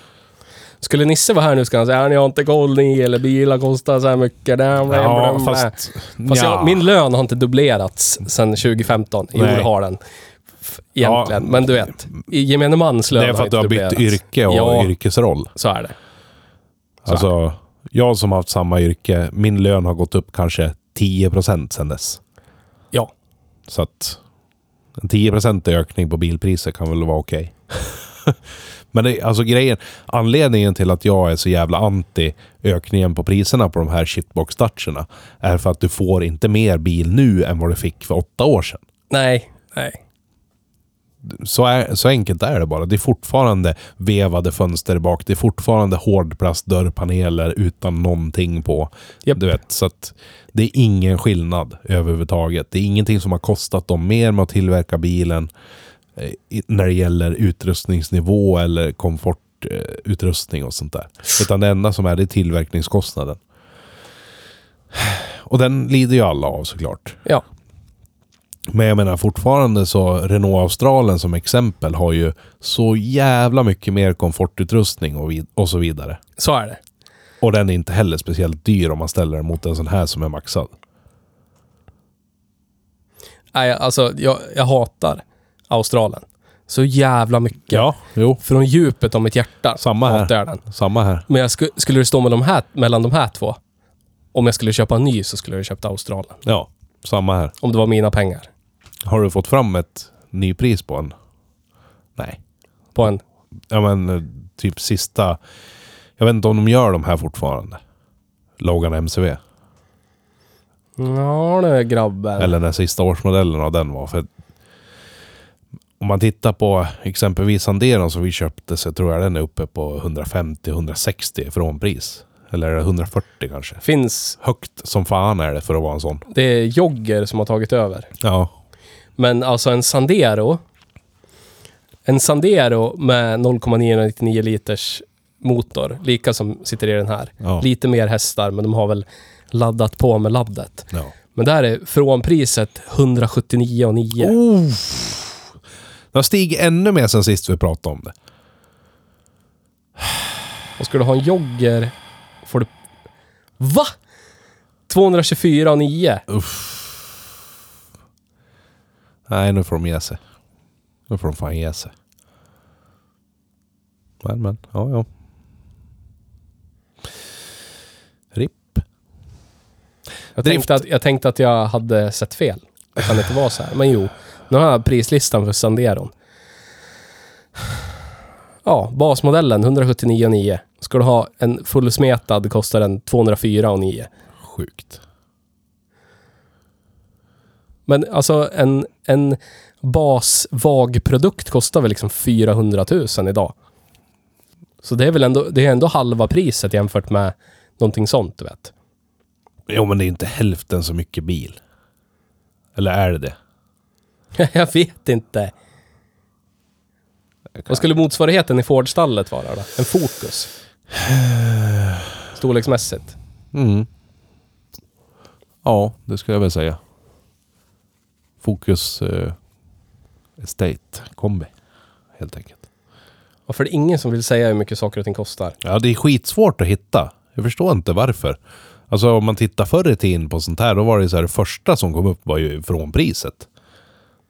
Skulle Nisse vara här nu skulle han säga att jag har inte koll ni eller bilar kostar så här mycket. Där, blä, blä,
Ja,
blä."
fast...
fast
nja.
jag, min lön har inte dubblerats sedan 2015. Jo,
Nej.
det har den. F- Egentligen.
Ja.
Men du vet, i gemene mans lön
Det är för att du har
inte
bytt
dubblerats.
yrke och
ja,
yrkesroll.
så är det. Så
Alltså, jag som har haft samma yrke, min lön har gått upp kanske 10% sedan dess.
Ja.
Så att en 10% ökning på bilpriser kan väl vara okej. Men det, alltså grejen, anledningen till att jag är så jävla anti ökningen på priserna på de här shitbox toucherna är för att du får inte mer bil nu än vad du fick för åtta år sedan.
Nej, nej.
Så, är, så enkelt är det bara. Det är fortfarande vevade fönster bak. Det är fortfarande hårdplastdörrpaneler utan någonting på.
Japp.
Du vet, så att det är ingen skillnad överhuvudtaget. Det är ingenting som har kostat dem mer med att tillverka bilen eh, i- när det gäller utrustningsnivå eller komfortutrustning och sånt där. Utan det enda som är det är tillverkningskostnaden. Och den lider ju alla av såklart.
Ja.
Men jag menar fortfarande så Renault Australen som exempel har ju så jävla mycket mer komfortutrustning och, vid- och så vidare.
Så är det.
Och den är inte heller speciellt dyr om man ställer den mot en sån här som är maxad.
Nej, alltså jag, jag hatar Australien. Så jävla mycket.
jo.
Från djupet av mitt hjärta
Samma här.
hatar jag den.
Samma här.
Men jag sku, skulle det stå med de här, mellan de här två, om jag skulle köpa en ny så skulle jag köpt Australien.
Ja, samma här.
Om det var mina pengar.
Har du fått fram ett nypris på en? Nej.
På en...
Ja men eh, typ sista... Jag vet inte om de gör de här fortfarande. Logan MCV.
Ja nu grabben.
Mm. Eller när sista årsmodellen av den var. För om man tittar på exempelvis Sanderon som vi köpte så tror jag den är uppe på 150-160 från pris. Eller är det 140 kanske.
Finns...
Högt som fan är det för att vara en sån.
Det är jogger som har tagit över.
Ja.
Men alltså en Sandero. En Sandero med 0,999 liters motor, lika som sitter i den här.
Ja.
Lite mer hästar, men de har väl laddat på med laddet.
ja.
Men där är från priset 179,9.
Oh. Det har stigit ännu mer sen sist vi pratade om det.
Och ska du ha en jogger får du... Va? 224,9.
Nej, nu får de ge sig. Nu får de fan ge sig. Men, men. Ja, ja. RIP. Drift.
Jag tänkte, att, jag tänkte att jag hade sett fel. Det kan inte vara så här. Men jo, nu har jag prislistan för Sanderon. Ja, basmodellen 179,9. Ska du ha en fullsmetad kostar den 204,9.
Sjukt.
Men alltså en, en basvagprodukt kostar väl liksom 400 000 idag. Så det är väl ändå, det är ändå halva priset jämfört med någonting sånt, du vet.
Jo, men det är inte hälften så mycket bil. Eller är det det?
Jag vet inte. Vad skulle motsvarigheten i Ford-stallet vara då? En Focus? Storleksmässigt?
Mm. Ja, det skulle jag väl säga. Fokus eh, Estate kombi. Helt enkelt.
Varför är det ingen som vill säga hur mycket saker och ting kostar?
Ja, det är skitsvårt att hitta. Jag förstår inte varför. Alltså om man tittar förr i tiden på sånt här, då var det så här det första som kom upp var ju från priset.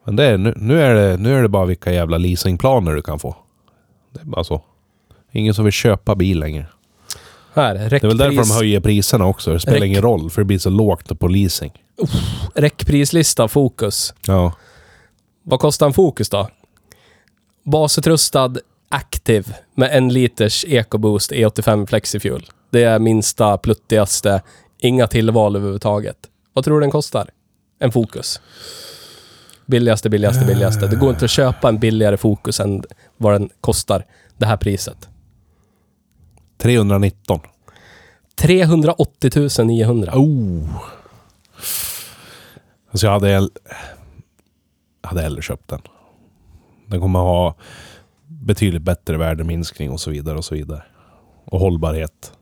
Men det är, nu, nu, är det, nu är det bara vilka jävla leasingplaner du kan få. Det är bara så. Ingen som vill köpa bil längre.
Här,
Det är väl därför de
räckpris,
höjer priserna också. Det spelar
Räck-
ingen roll, för det blir så lågt på leasing.
räckprislista Focus.
Ja.
Vad kostar en Focus då? Basutrustad Active med en liters EcoBoost E E85 Flexifuel. Det är minsta, pluttigaste, inga tillval överhuvudtaget. Vad tror du den kostar? En Focus. Billigaste, billigaste, billigaste. Det går inte att köpa en billigare Focus än vad den kostar, det här priset.
319.
380 900.
Oh. Alltså jag hade, hell- hade hellre köpt den. Den kommer ha betydligt bättre värdeminskning och så vidare och så vidare. Och hållbarhet.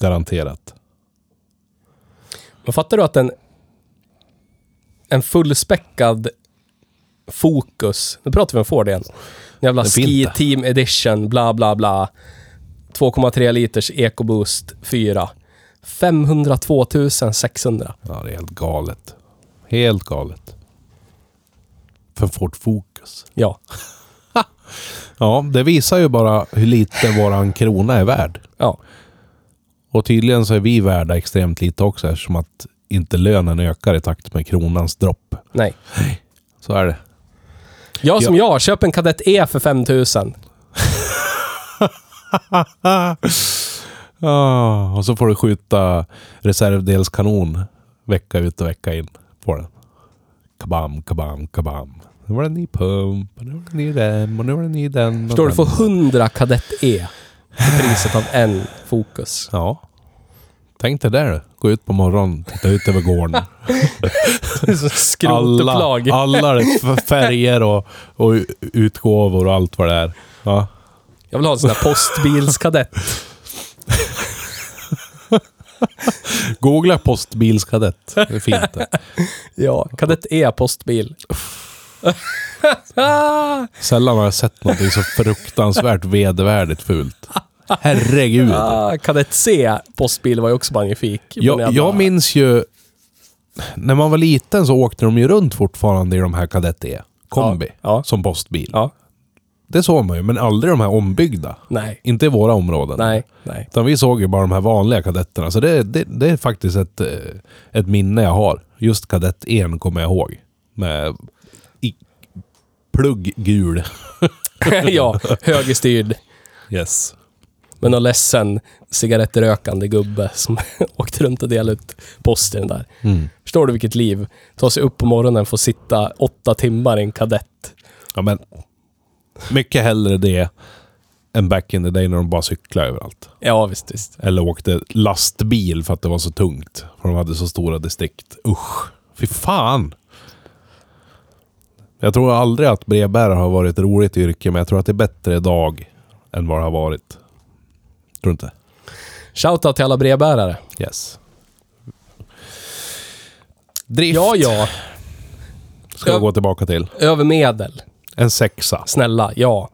Garanterat.
Men fattar du att en, en fullspäckad Focus, nu pratar vi om Ford igen. En Jävla
Den
Ski
finta.
Team Edition, bla bla bla. 2,3 liters EcoBoost 4. 502 600.
Ja, det är helt galet. Helt galet. För Ford Focus.
Ja,
Ja, det visar ju bara hur lite våran krona är värd.
ja.
Och tydligen så är vi värda extremt lite också eftersom att inte lönen ökar i takt med kronans dropp.
Nej.
Så är det.
Jag som jag, köp en Kadett E för 5 000.
Ah, och så får du skjuta reservdelskanon vecka ut och vecka in på den. Kabam, kabam, kabam. Nu var det en ny pump, och nu var det en ny rem och nu var det en ny den. och
Förstår du?
den.
Få 100 Kadett E för priset av en Focus.
Ja. Tänk dig det där. Gå ut på morgonen, titta ut över gården. alla,
Skrotupplag.
alla f- färger och, och utgåvor och allt vad det är. Ja.
Jag vill ha en sån här postbilskadett.
Googla postbilskadett. Det är fint det.
Ja, kadett E postbil.
Sällan har jag sett någonting så fruktansvärt vedervärdigt fult. Herregud.
Ah, kadett C postbil var ju också magnifik. Men
Jag, jag
bara-
minns ju... När man var liten så åkte de ju runt fortfarande i de här Kadett E. Kombi.
Ja, ja.
Som postbil.
Ja,
Det såg man ju, men aldrig de här ombyggda.
nej,
Inte i våra områden.
nej, nej.
Utan vi såg ju bara de här vanliga kadetterna. Så det, det, det är faktiskt ett, eh, ett minne jag har. Just kadett 1 kommer jag ihåg. Med i, plugggul.
ja, högerstyrd.
Yes.
Men någon ledsen cigarettrökande gubbe som åkte runt och delade ut post i den där. Förstår du vilket liv? Ta sig upp på morgonen och få sitta åtta timmar i en kadett.
Ja, men mycket hellre det än back in the day när de bara cyklade överallt.
Ja, visst, visst.
Eller åkte lastbil för att det var så tungt. För de hade så stora distrikt. Usch! Fy fan! Jag tror aldrig att brevbärare har varit ett roligt yrke, men jag tror att det är bättre idag än vad det har varit. Tror du inte?
Shoutout till alla brevbärare.
Yes. Drift
Ja, ja.
ska
Ja.
jag gå tillbaka till.
Över medel.
En sexa
Snälla, ja.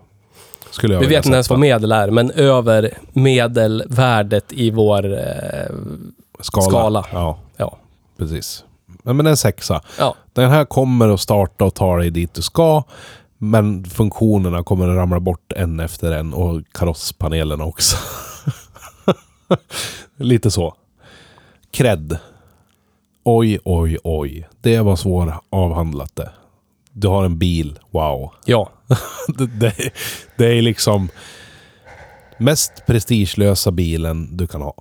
skulle jag
Vi
vilja
vet inte ens
sätta.
vad medel är, men över medelvärdet i vår... Eh,
Skala.
skala.
Ja,
ja.
precis. Ja, men en sexa.
ja.
Den här kommer att starta och ta dig dit du ska. Men funktionerna kommer att ramla bort en efter en och karosspanelerna också. Lite så. Cred. Oj, oj, oj. Det var svåravhandlat det. Du har en bil. Wow.
Ja.
det, det, det är liksom mest prestigelösa bilen du kan ha.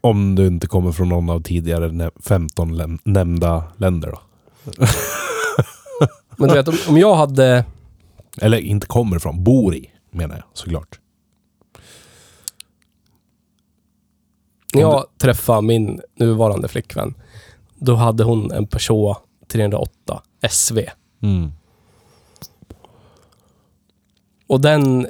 Om du inte kommer från någon av tidigare nä- 15 län- nämnda länder då.
Men du vet, om- om jag hade...
Eller inte kommer från, bor i menar jag såklart.
När jag träffade min nuvarande flickvän, då hade hon en Peugeot 308 SV.
Mm.
Och den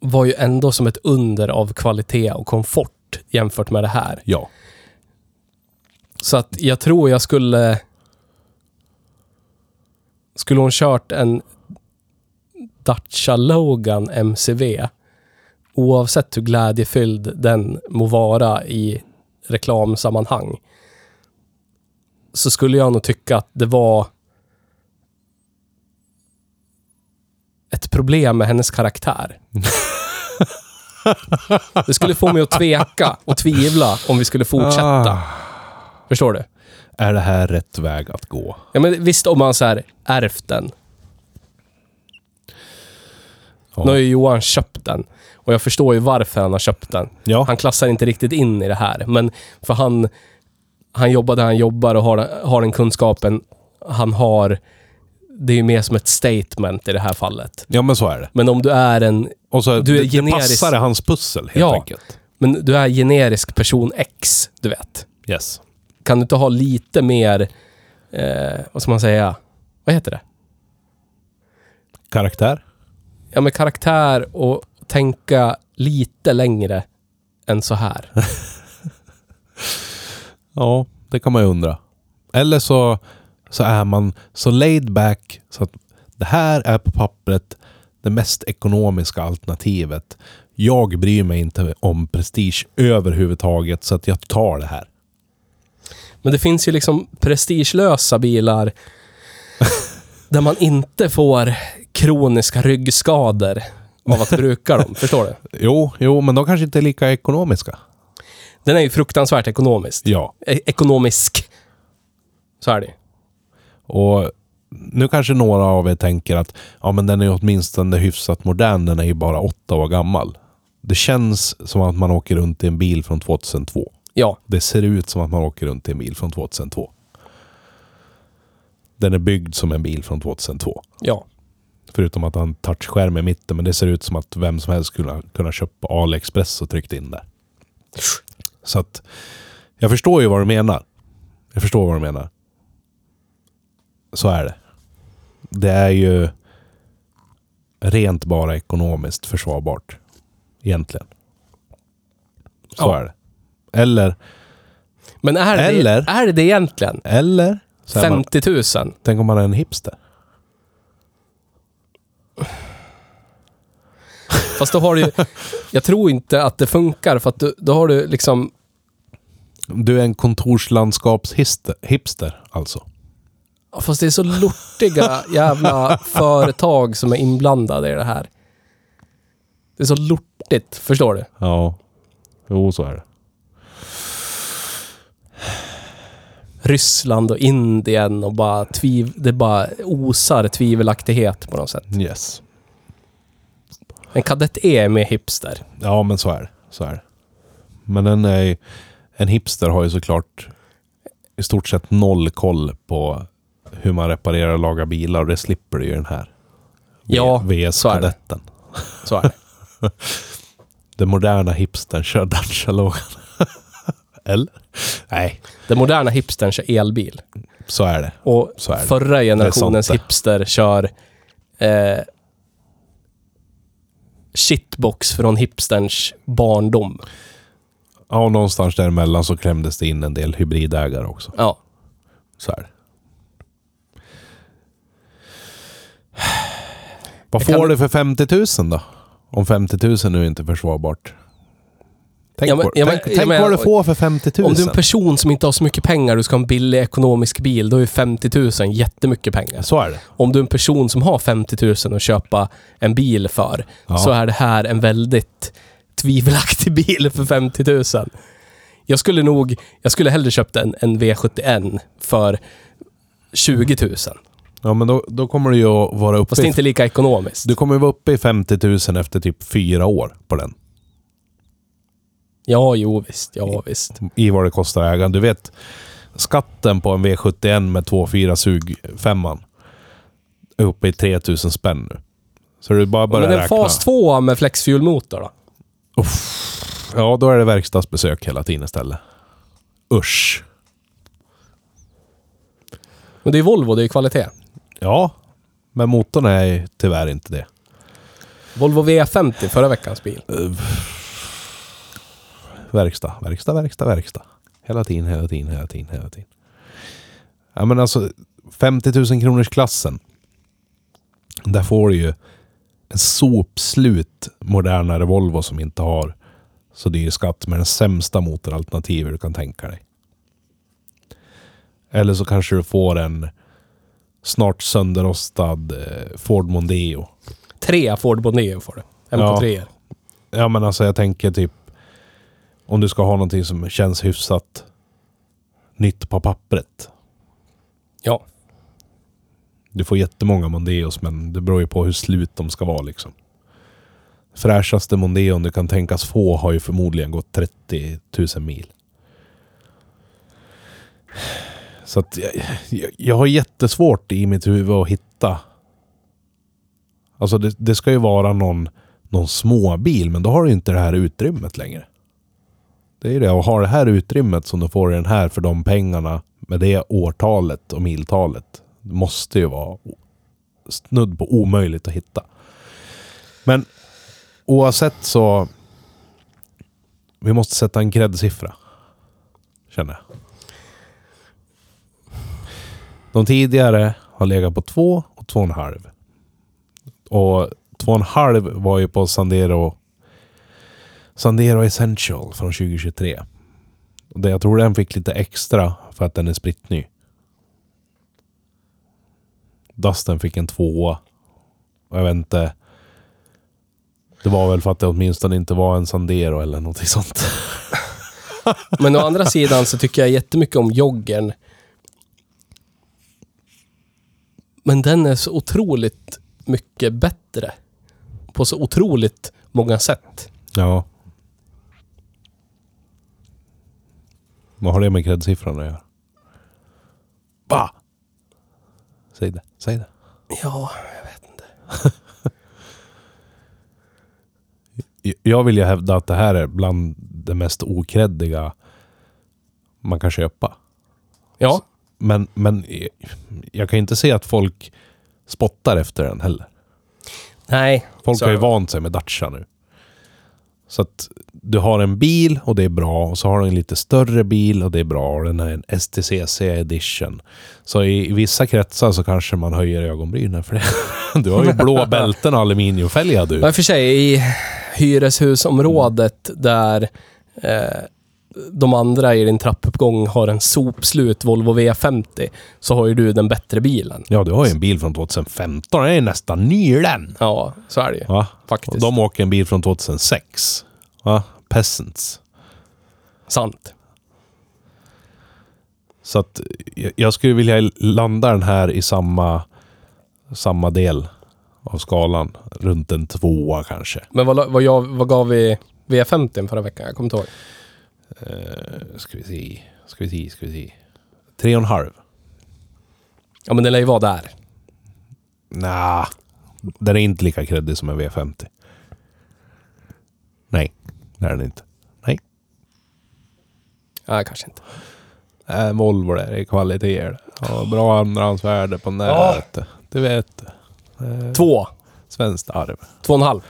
var ju ändå som ett under av kvalitet och komfort jämfört med det här.
Ja.
Så att jag tror jag skulle... Skulle hon kört en Dacia Logan MCV, oavsett hur glädjefylld den må vara i reklamsammanhang, så skulle jag nog tycka att det var ett problem med hennes karaktär. Det skulle få mig att tveka och tvivla om vi skulle fortsätta.
Ah,
Förstår du?
är det här rätt väg att gå?
Ja, men visst om man så här ärvt den.
Ja.
Nu har ju Johan köpt den. Och jag förstår ju varför han har köpt den.
Ja.
Han klassar inte riktigt in i det här. Men för han, han jobbar där han jobbar och har, har den kunskapen han har. Det är ju mer som ett statement i det här fallet.
ja, men så är det.
Men om du är en,
Och så,
Du är
det, det
generisk.
passar hans pussel helt
Ja.
enkelt.
men du är generisk person X, du vet.
Yes.
Kan du inte ha lite mer, eh, vad ska man säga, vad heter det?
Karaktär?
ja, men karaktär och tänka lite längre än så här.
Ja, det kan man ju undra. Eller så, så är man så laid back så att det här är på pappret det mest ekonomiska alternativet. Jag bryr mig inte om prestige överhuvudtaget så att jag tar det här.
Men det finns ju liksom prestigelösa bilar där man inte får kroniska ryggskador av att bruka dem. Förstår du?
Jo, jo, men de kanske inte är lika ekonomiska.
Den är ju fruktansvärt ekonomisk.
Ja,
E- ekonomisk. Så är det ju.
och nu kanske några av er tänker att ja, men den är ju åtminstone hyfsat modern. Den är ju bara åtta år gammal. Det känns som att man åker runt i en bil från 2002.
Ja,
Det ser ut som att man åker runt i en bil från 2002. Den är byggd som en bil från 2002.
ja.
Förutom att han touchskärm i mitten, men det ser ut som att vem som helst skulle kunna köpa AliExpress och tryckt in det. Så att jag förstår ju vad du menar. Jag förstår vad du menar. Så är det. Det är ju rent bara ekonomiskt försvarbart. Egentligen. Så
Ja.
är det. Eller
Men är det,
Eller-
är det egentligen
Eller? Så är man,
50 000?
tänk om man är en hipster?
Fast då har du ju... Jag tror inte att det funkar för att du, då har du liksom...
Du är en kontorslandskapshipster alltså?
Ja, Fast det är så lortiga jävla företag som är inblandade i det här. Det är så lortigt, förstår du?
Ja. Jo, så är det.
Ryssland och Indien och bara tviv... Det bara osar tvivelaktighet på något sätt.
Yes.
En kadett E är mer hipster.
Ja, men så är det. Så är det. Men en, är- en hipster har ju såklart i stort sett noll koll på hur man reparerar och lagar bilar och det slipper du ju i den här.
Ja,
VS
så är det.
kadetten.
Så är det.
Den moderna hipstern kör Dacia-lågan. Eller? Nej,
Den moderna hipstern kör elbil.
så är det.
Och
Så är det.
förra generationens
det.
hipster kör eh, shitbox från hipsterns barndom.
Ja, och någonstans däremellan så klämdes det in en del hybridägare också.
Ja.
Så är det. Vad
Jag
får
kan-
du för 50 000 då? Om 50 000 nu är inte försvarbart. Tänk,
Ja, men-
på,
ja, men-
tänk,
ja,
tänk
men-
vad du får för 50 000.
Om du är en person som inte har så mycket pengar och du ska ha en billig ekonomisk bil, då är 50 000 jättemycket pengar.
Så är det.
Om du är en person som har 50 000 att köpa en bil för,
Ja.
så är det här en väldigt tvivelaktig bil för 50 000. Jag skulle nog, jag skulle hellre köpt en, en V71 för 20 000.
Ja, men då, då kommer du ju att vara uppe
Fast det är
i,
inte lika ekonomiskt.
Du kommer ju vara uppe i 50 000 efter typ fyra år på den.
Ja, jo visst. Ja, visst.
I vad det kostar att äga. Du vet, skatten på en V71 med 2.4 sugfemman är uppe i 3 000 spänn nu. Så du bara börjar
Men en
räkna.
fas 2 med flexfuelmotor då?
Ja, då är det verkstadsbesök hela tiden istället. Usch.
Men det är Volvo, det är kvalitet.
Ja, men motorn är tyvärr inte det.
Volvo V50, förra veckans bil.
Verkstad, verkstad, verkstad, verkstad. Hela tiden, hela tiden, hela tiden, hela tiden. Ja, men alltså 50 000 kronors klassen. Där får du ju en sopslut modernare Volvo som inte har så dyr skatt med den sämsta motoralternativet du kan tänka dig. Eller så kanske du får en snart sönderrostad eh, Ford Mondeo.
Tre Ford Bondeo får du. MK3. Ja.
Ja men alltså jag tänker typ om du ska ha någonting som känns hyfsat nytt på pappret.
ja.
Du får jättemånga Mondeos men det beror ju på hur slut de ska vara liksom. Fräschaste Mondeon du kan tänkas få har ju förmodligen gått 30 000 mil. Så att jag, jag, jag har jättesvårt i mitt huvud att hitta. Alltså det, det ska ju vara någon, någon småbil men då har du inte det här utrymmet längre. Det är ju det. Och har det här utrymmet som du får i den här för de pengarna med det årtalet och miltalet. Det måste ju vara o- snudd på omöjligt att hitta. Men oavsett så... Vi måste sätta en kreddsiffra. Känner jag. De tidigare har legat på två och två och en halv. Och två och en halv var ju på Sandero Sandero Essential från 2023. Och det, jag tror den fick lite extra för att den är spritt ny. Dusten fick en tvåa. Och jag vet inte. Det var väl för att det åtminstone inte var en Sandero eller någonting sånt.
Men å andra sidan så tycker jag jättemycket om joggen. Men den är så otroligt mycket bättre. På så otroligt många sätt.
Ja. Vad har det med kreddsiffran att göra? Va? Säg det. Säg det.
Ja, jag vet inte.
Jag vill ju hävda att det här är bland det mest okreddiga man kan köpa.
Ja,
Men, men eh, jag kan ju inte se att folk spottar efter den heller.
nej.
Folk
Så-
har ju vant sig med Dacia nu. Så att du har en bil och det är bra och så har du en lite större bil och det är bra och den är en STCC edition. Så i, i vissa kretsar så kanske man höjer ögonbrynen för det. Du har ju blå bälten och aluminiumfälgar
Ja, i
du.
och för sig, i hyreshusområdet där eh, de andra i din trappuppgång har en sopslut Volvo V50, så har ju du den bättre bilen.
Ja, du har ju en bil från 2015. Den är ju nästan ny den.
Ja, så är det ju.
Va? Och
Faktiskt.
de åker en bil från 2006. Va? Peasants.
Sant.
Så att jag- jag skulle vilja landa den här i samma, samma del av skalan. Runt en tvåa kanske.
Men vad, la- vad, jag, vad gav vi V50 förra veckan? Jag kommer inte ihåg.
Eh, ska vi se, ska vi se, ska vi se. Tre och en halv.
Ja, men den lär ju vara där.
Nja, Den är inte lika kreddig som en V50. Nej, det är den inte.
Nej, kanske inte.
Äh, Volvo där, det är kvaliteter. Ja, bra andrahandsvärde på den där.
Ja.
vet du. Du vet. Eh,
Två.
Svenskt arv.
Två och en halv.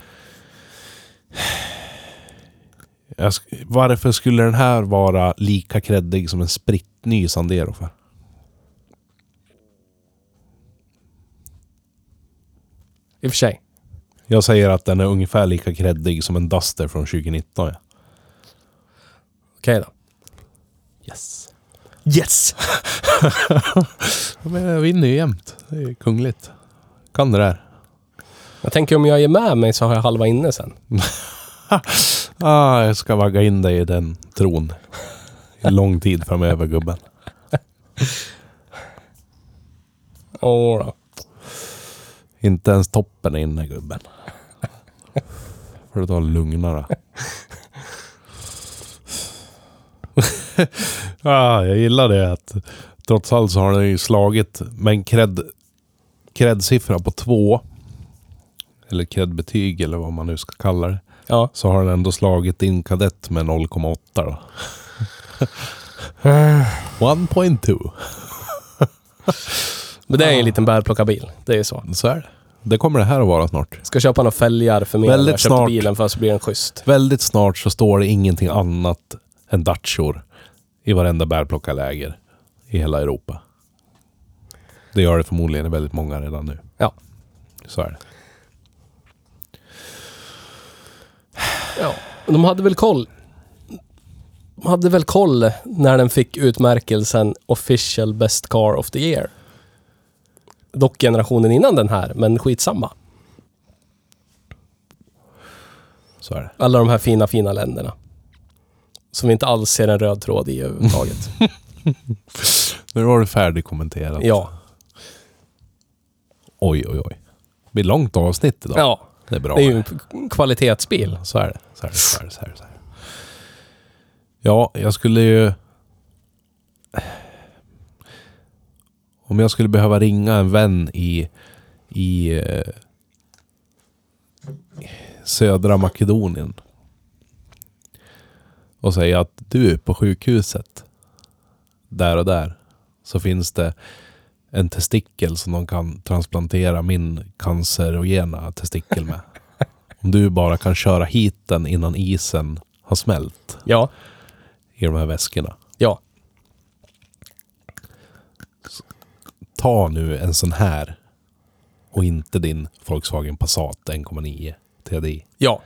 Jag sk- varför skulle den här vara lika kreddig som en spritny Sandero för?
I och för sig.
Jag säger att den är ungefär lika kreddig som en Duster från 2019. Ja.
Okej då.
Yes.
Yes!
Men jag vinner ju jämt. Det är ju kungligt. Kan det där.
Jag tänker om jag är med mig så har jag halva inne sen.
Ah, jag ska vagga in dig i den tron. I lång tid framöver gubben.
Åh då.
Inte ens toppen är inne gubben. Får du ta det lugnare. ah, jag gillar det att trots allt så har den ju slagit med en cred, cred-siffra på två. Eller cred-betyg eller vad man nu ska kalla det.
Ja.
Så har den ändå slagit din kadett med 0,8 då. 1.2.
Men det är ju en
Ah.
liten bärplockarbil. Det är ju så.
Så är det. Det kommer det här att vara snart.
Ska köpa några fälgar för mer än
Väldigt
vad jag köpte
snart.
bilen för så blir den schysst.
Väldigt snart så står det ingenting annat än Dacior i varenda bärplockarläger i hela Europa. Det gör det förmodligen i väldigt många redan nu.
Ja.
Så är det.
Ja. De hade väl koll. De hade väl koll när den fick utmärkelsen Official Best Car of the Year. Dock generationen innan den här, men skitsamma.
Så är det.
Alla de här fina, fina länderna. Som vi inte alls ser en röd tråd i överhuvudtaget.
Nu var det färdigkommenterat.
ja.
Oj, oj, oj. Det blir långt avsnitt idag.
ja.
Det är bra.
Det är ju en p- kvalitetsbil.
Så är det. Så är det, så är det, så är det, så är det. Ja, jag skulle ju... Om jag skulle behöva ringa en vän i, i eh, södra Makedonien och säga att du på sjukhuset där och där så finns det en testikel som de kan transplantera min cancerogena testikel med. Om du bara kan köra hit den innan isen har smält
Ja.
i de här väskorna.
Ja.
Ta nu en sån här och inte din Volkswagen Passat 1,9 TDI.
Ja.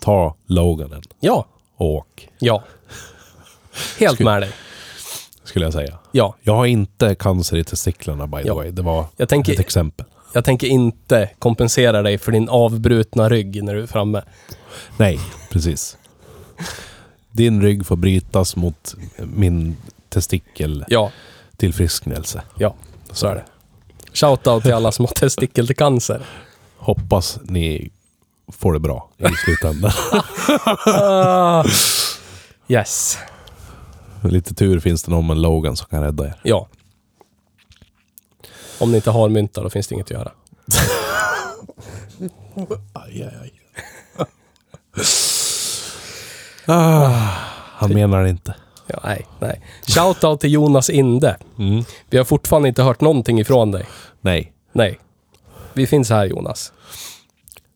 Ta Loganen
Ja.
och åk,
Ja. Helt med dig.
skulle jag säga.
Ja.
Jag har inte cancer i testiklarna by the
Ja.
way. Det var
Jag tänker-
ett exempel.
Jag tänker inte kompensera dig för din avbrutna rygg när du är framme.
Nej, precis. Din rygg får brytas mot min testikel
Ja.
tillfrisknelse.
Ja.
Så är det.
Shoutout till alla som har testikelcancer.
Hoppas ni får det bra i slutändan.
Yes.
Med Lite tur finns det någon med en Logan som kan rädda er.
Ja. Om ni inte har mynta, då finns det inget att göra.
Ah, Han menar det inte.
Ja, nej, nej. Shoutout till Jonas Inde. Vi har fortfarande inte hört någonting ifrån dig.
Nej.
Nej. Vi finns här, Jonas.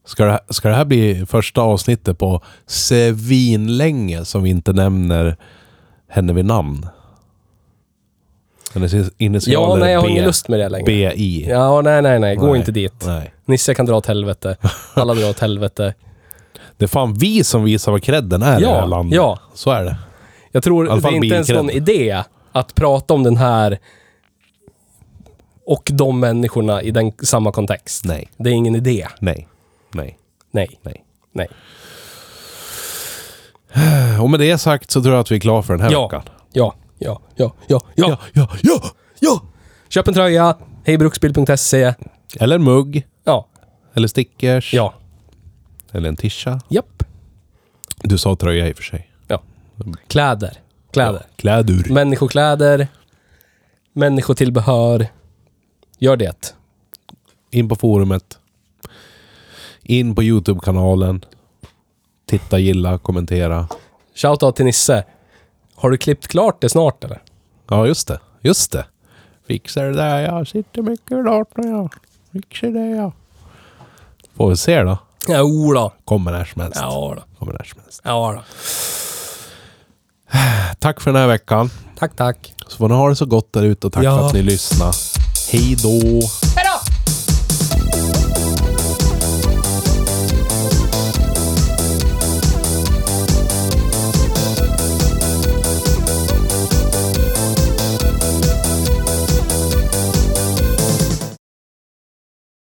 Ska det, här- ska det här bli första avsnittet på svinlänge som vi inte nämner henne vid namn? Hennes initialer
Ja, nej, jag har
B-
ingen lust med det längre.
BI.
Ja, nej, nej, nej. Gå
Nej,
inte dit.
Nej.
Nisse kan dra åt helvete. Alla drar åt helvete.
Det är fan vi som visar vad credden är i
Ja,
det här landet.
ja.
Så är det.
Jag tror
I alla
det är
fall
inte ens
bilkredd.
någon idé att prata om den här och de människorna i den samma kontext.
Nej.
Det är ingen idé.
Nej. Nej.
Nej.
Nej.
Nej.
Och med det sagt så tror jag att vi är klara för den här
Ja.
veckan.
Ja. Ja. Ja. Ja. Ja.
ja, ja, ja!
Köp en tröja. Hejbruksbil.se.
Eller en mugg.
Ja.
Eller stickers.
Ja.
Eller en tisha.
Japp.
Du sa tröja i och för sig.
Ja. Kläder. Kläder.
Kläder.
Människokläder. Människotillbehör. Gör det.
In på forumet. In på YouTube-kanalen. Titta, gilla, kommentera.
Shoutout till Nisse. Har du klippt klart det snart eller?
Ja, just det. Just det. Fixar det där jag. Sitter mycket klart när jag. Fixar det jag. Får vi se då.
Ja, o då.
Kommer när som helst.
Ja då.
Kommer när som helst.
Ja då.
Tack för den här veckan.
Tack, tack.
Så får ni ha det så gott där ute och tack
Ja.
för att ni lyssnade. Hej då!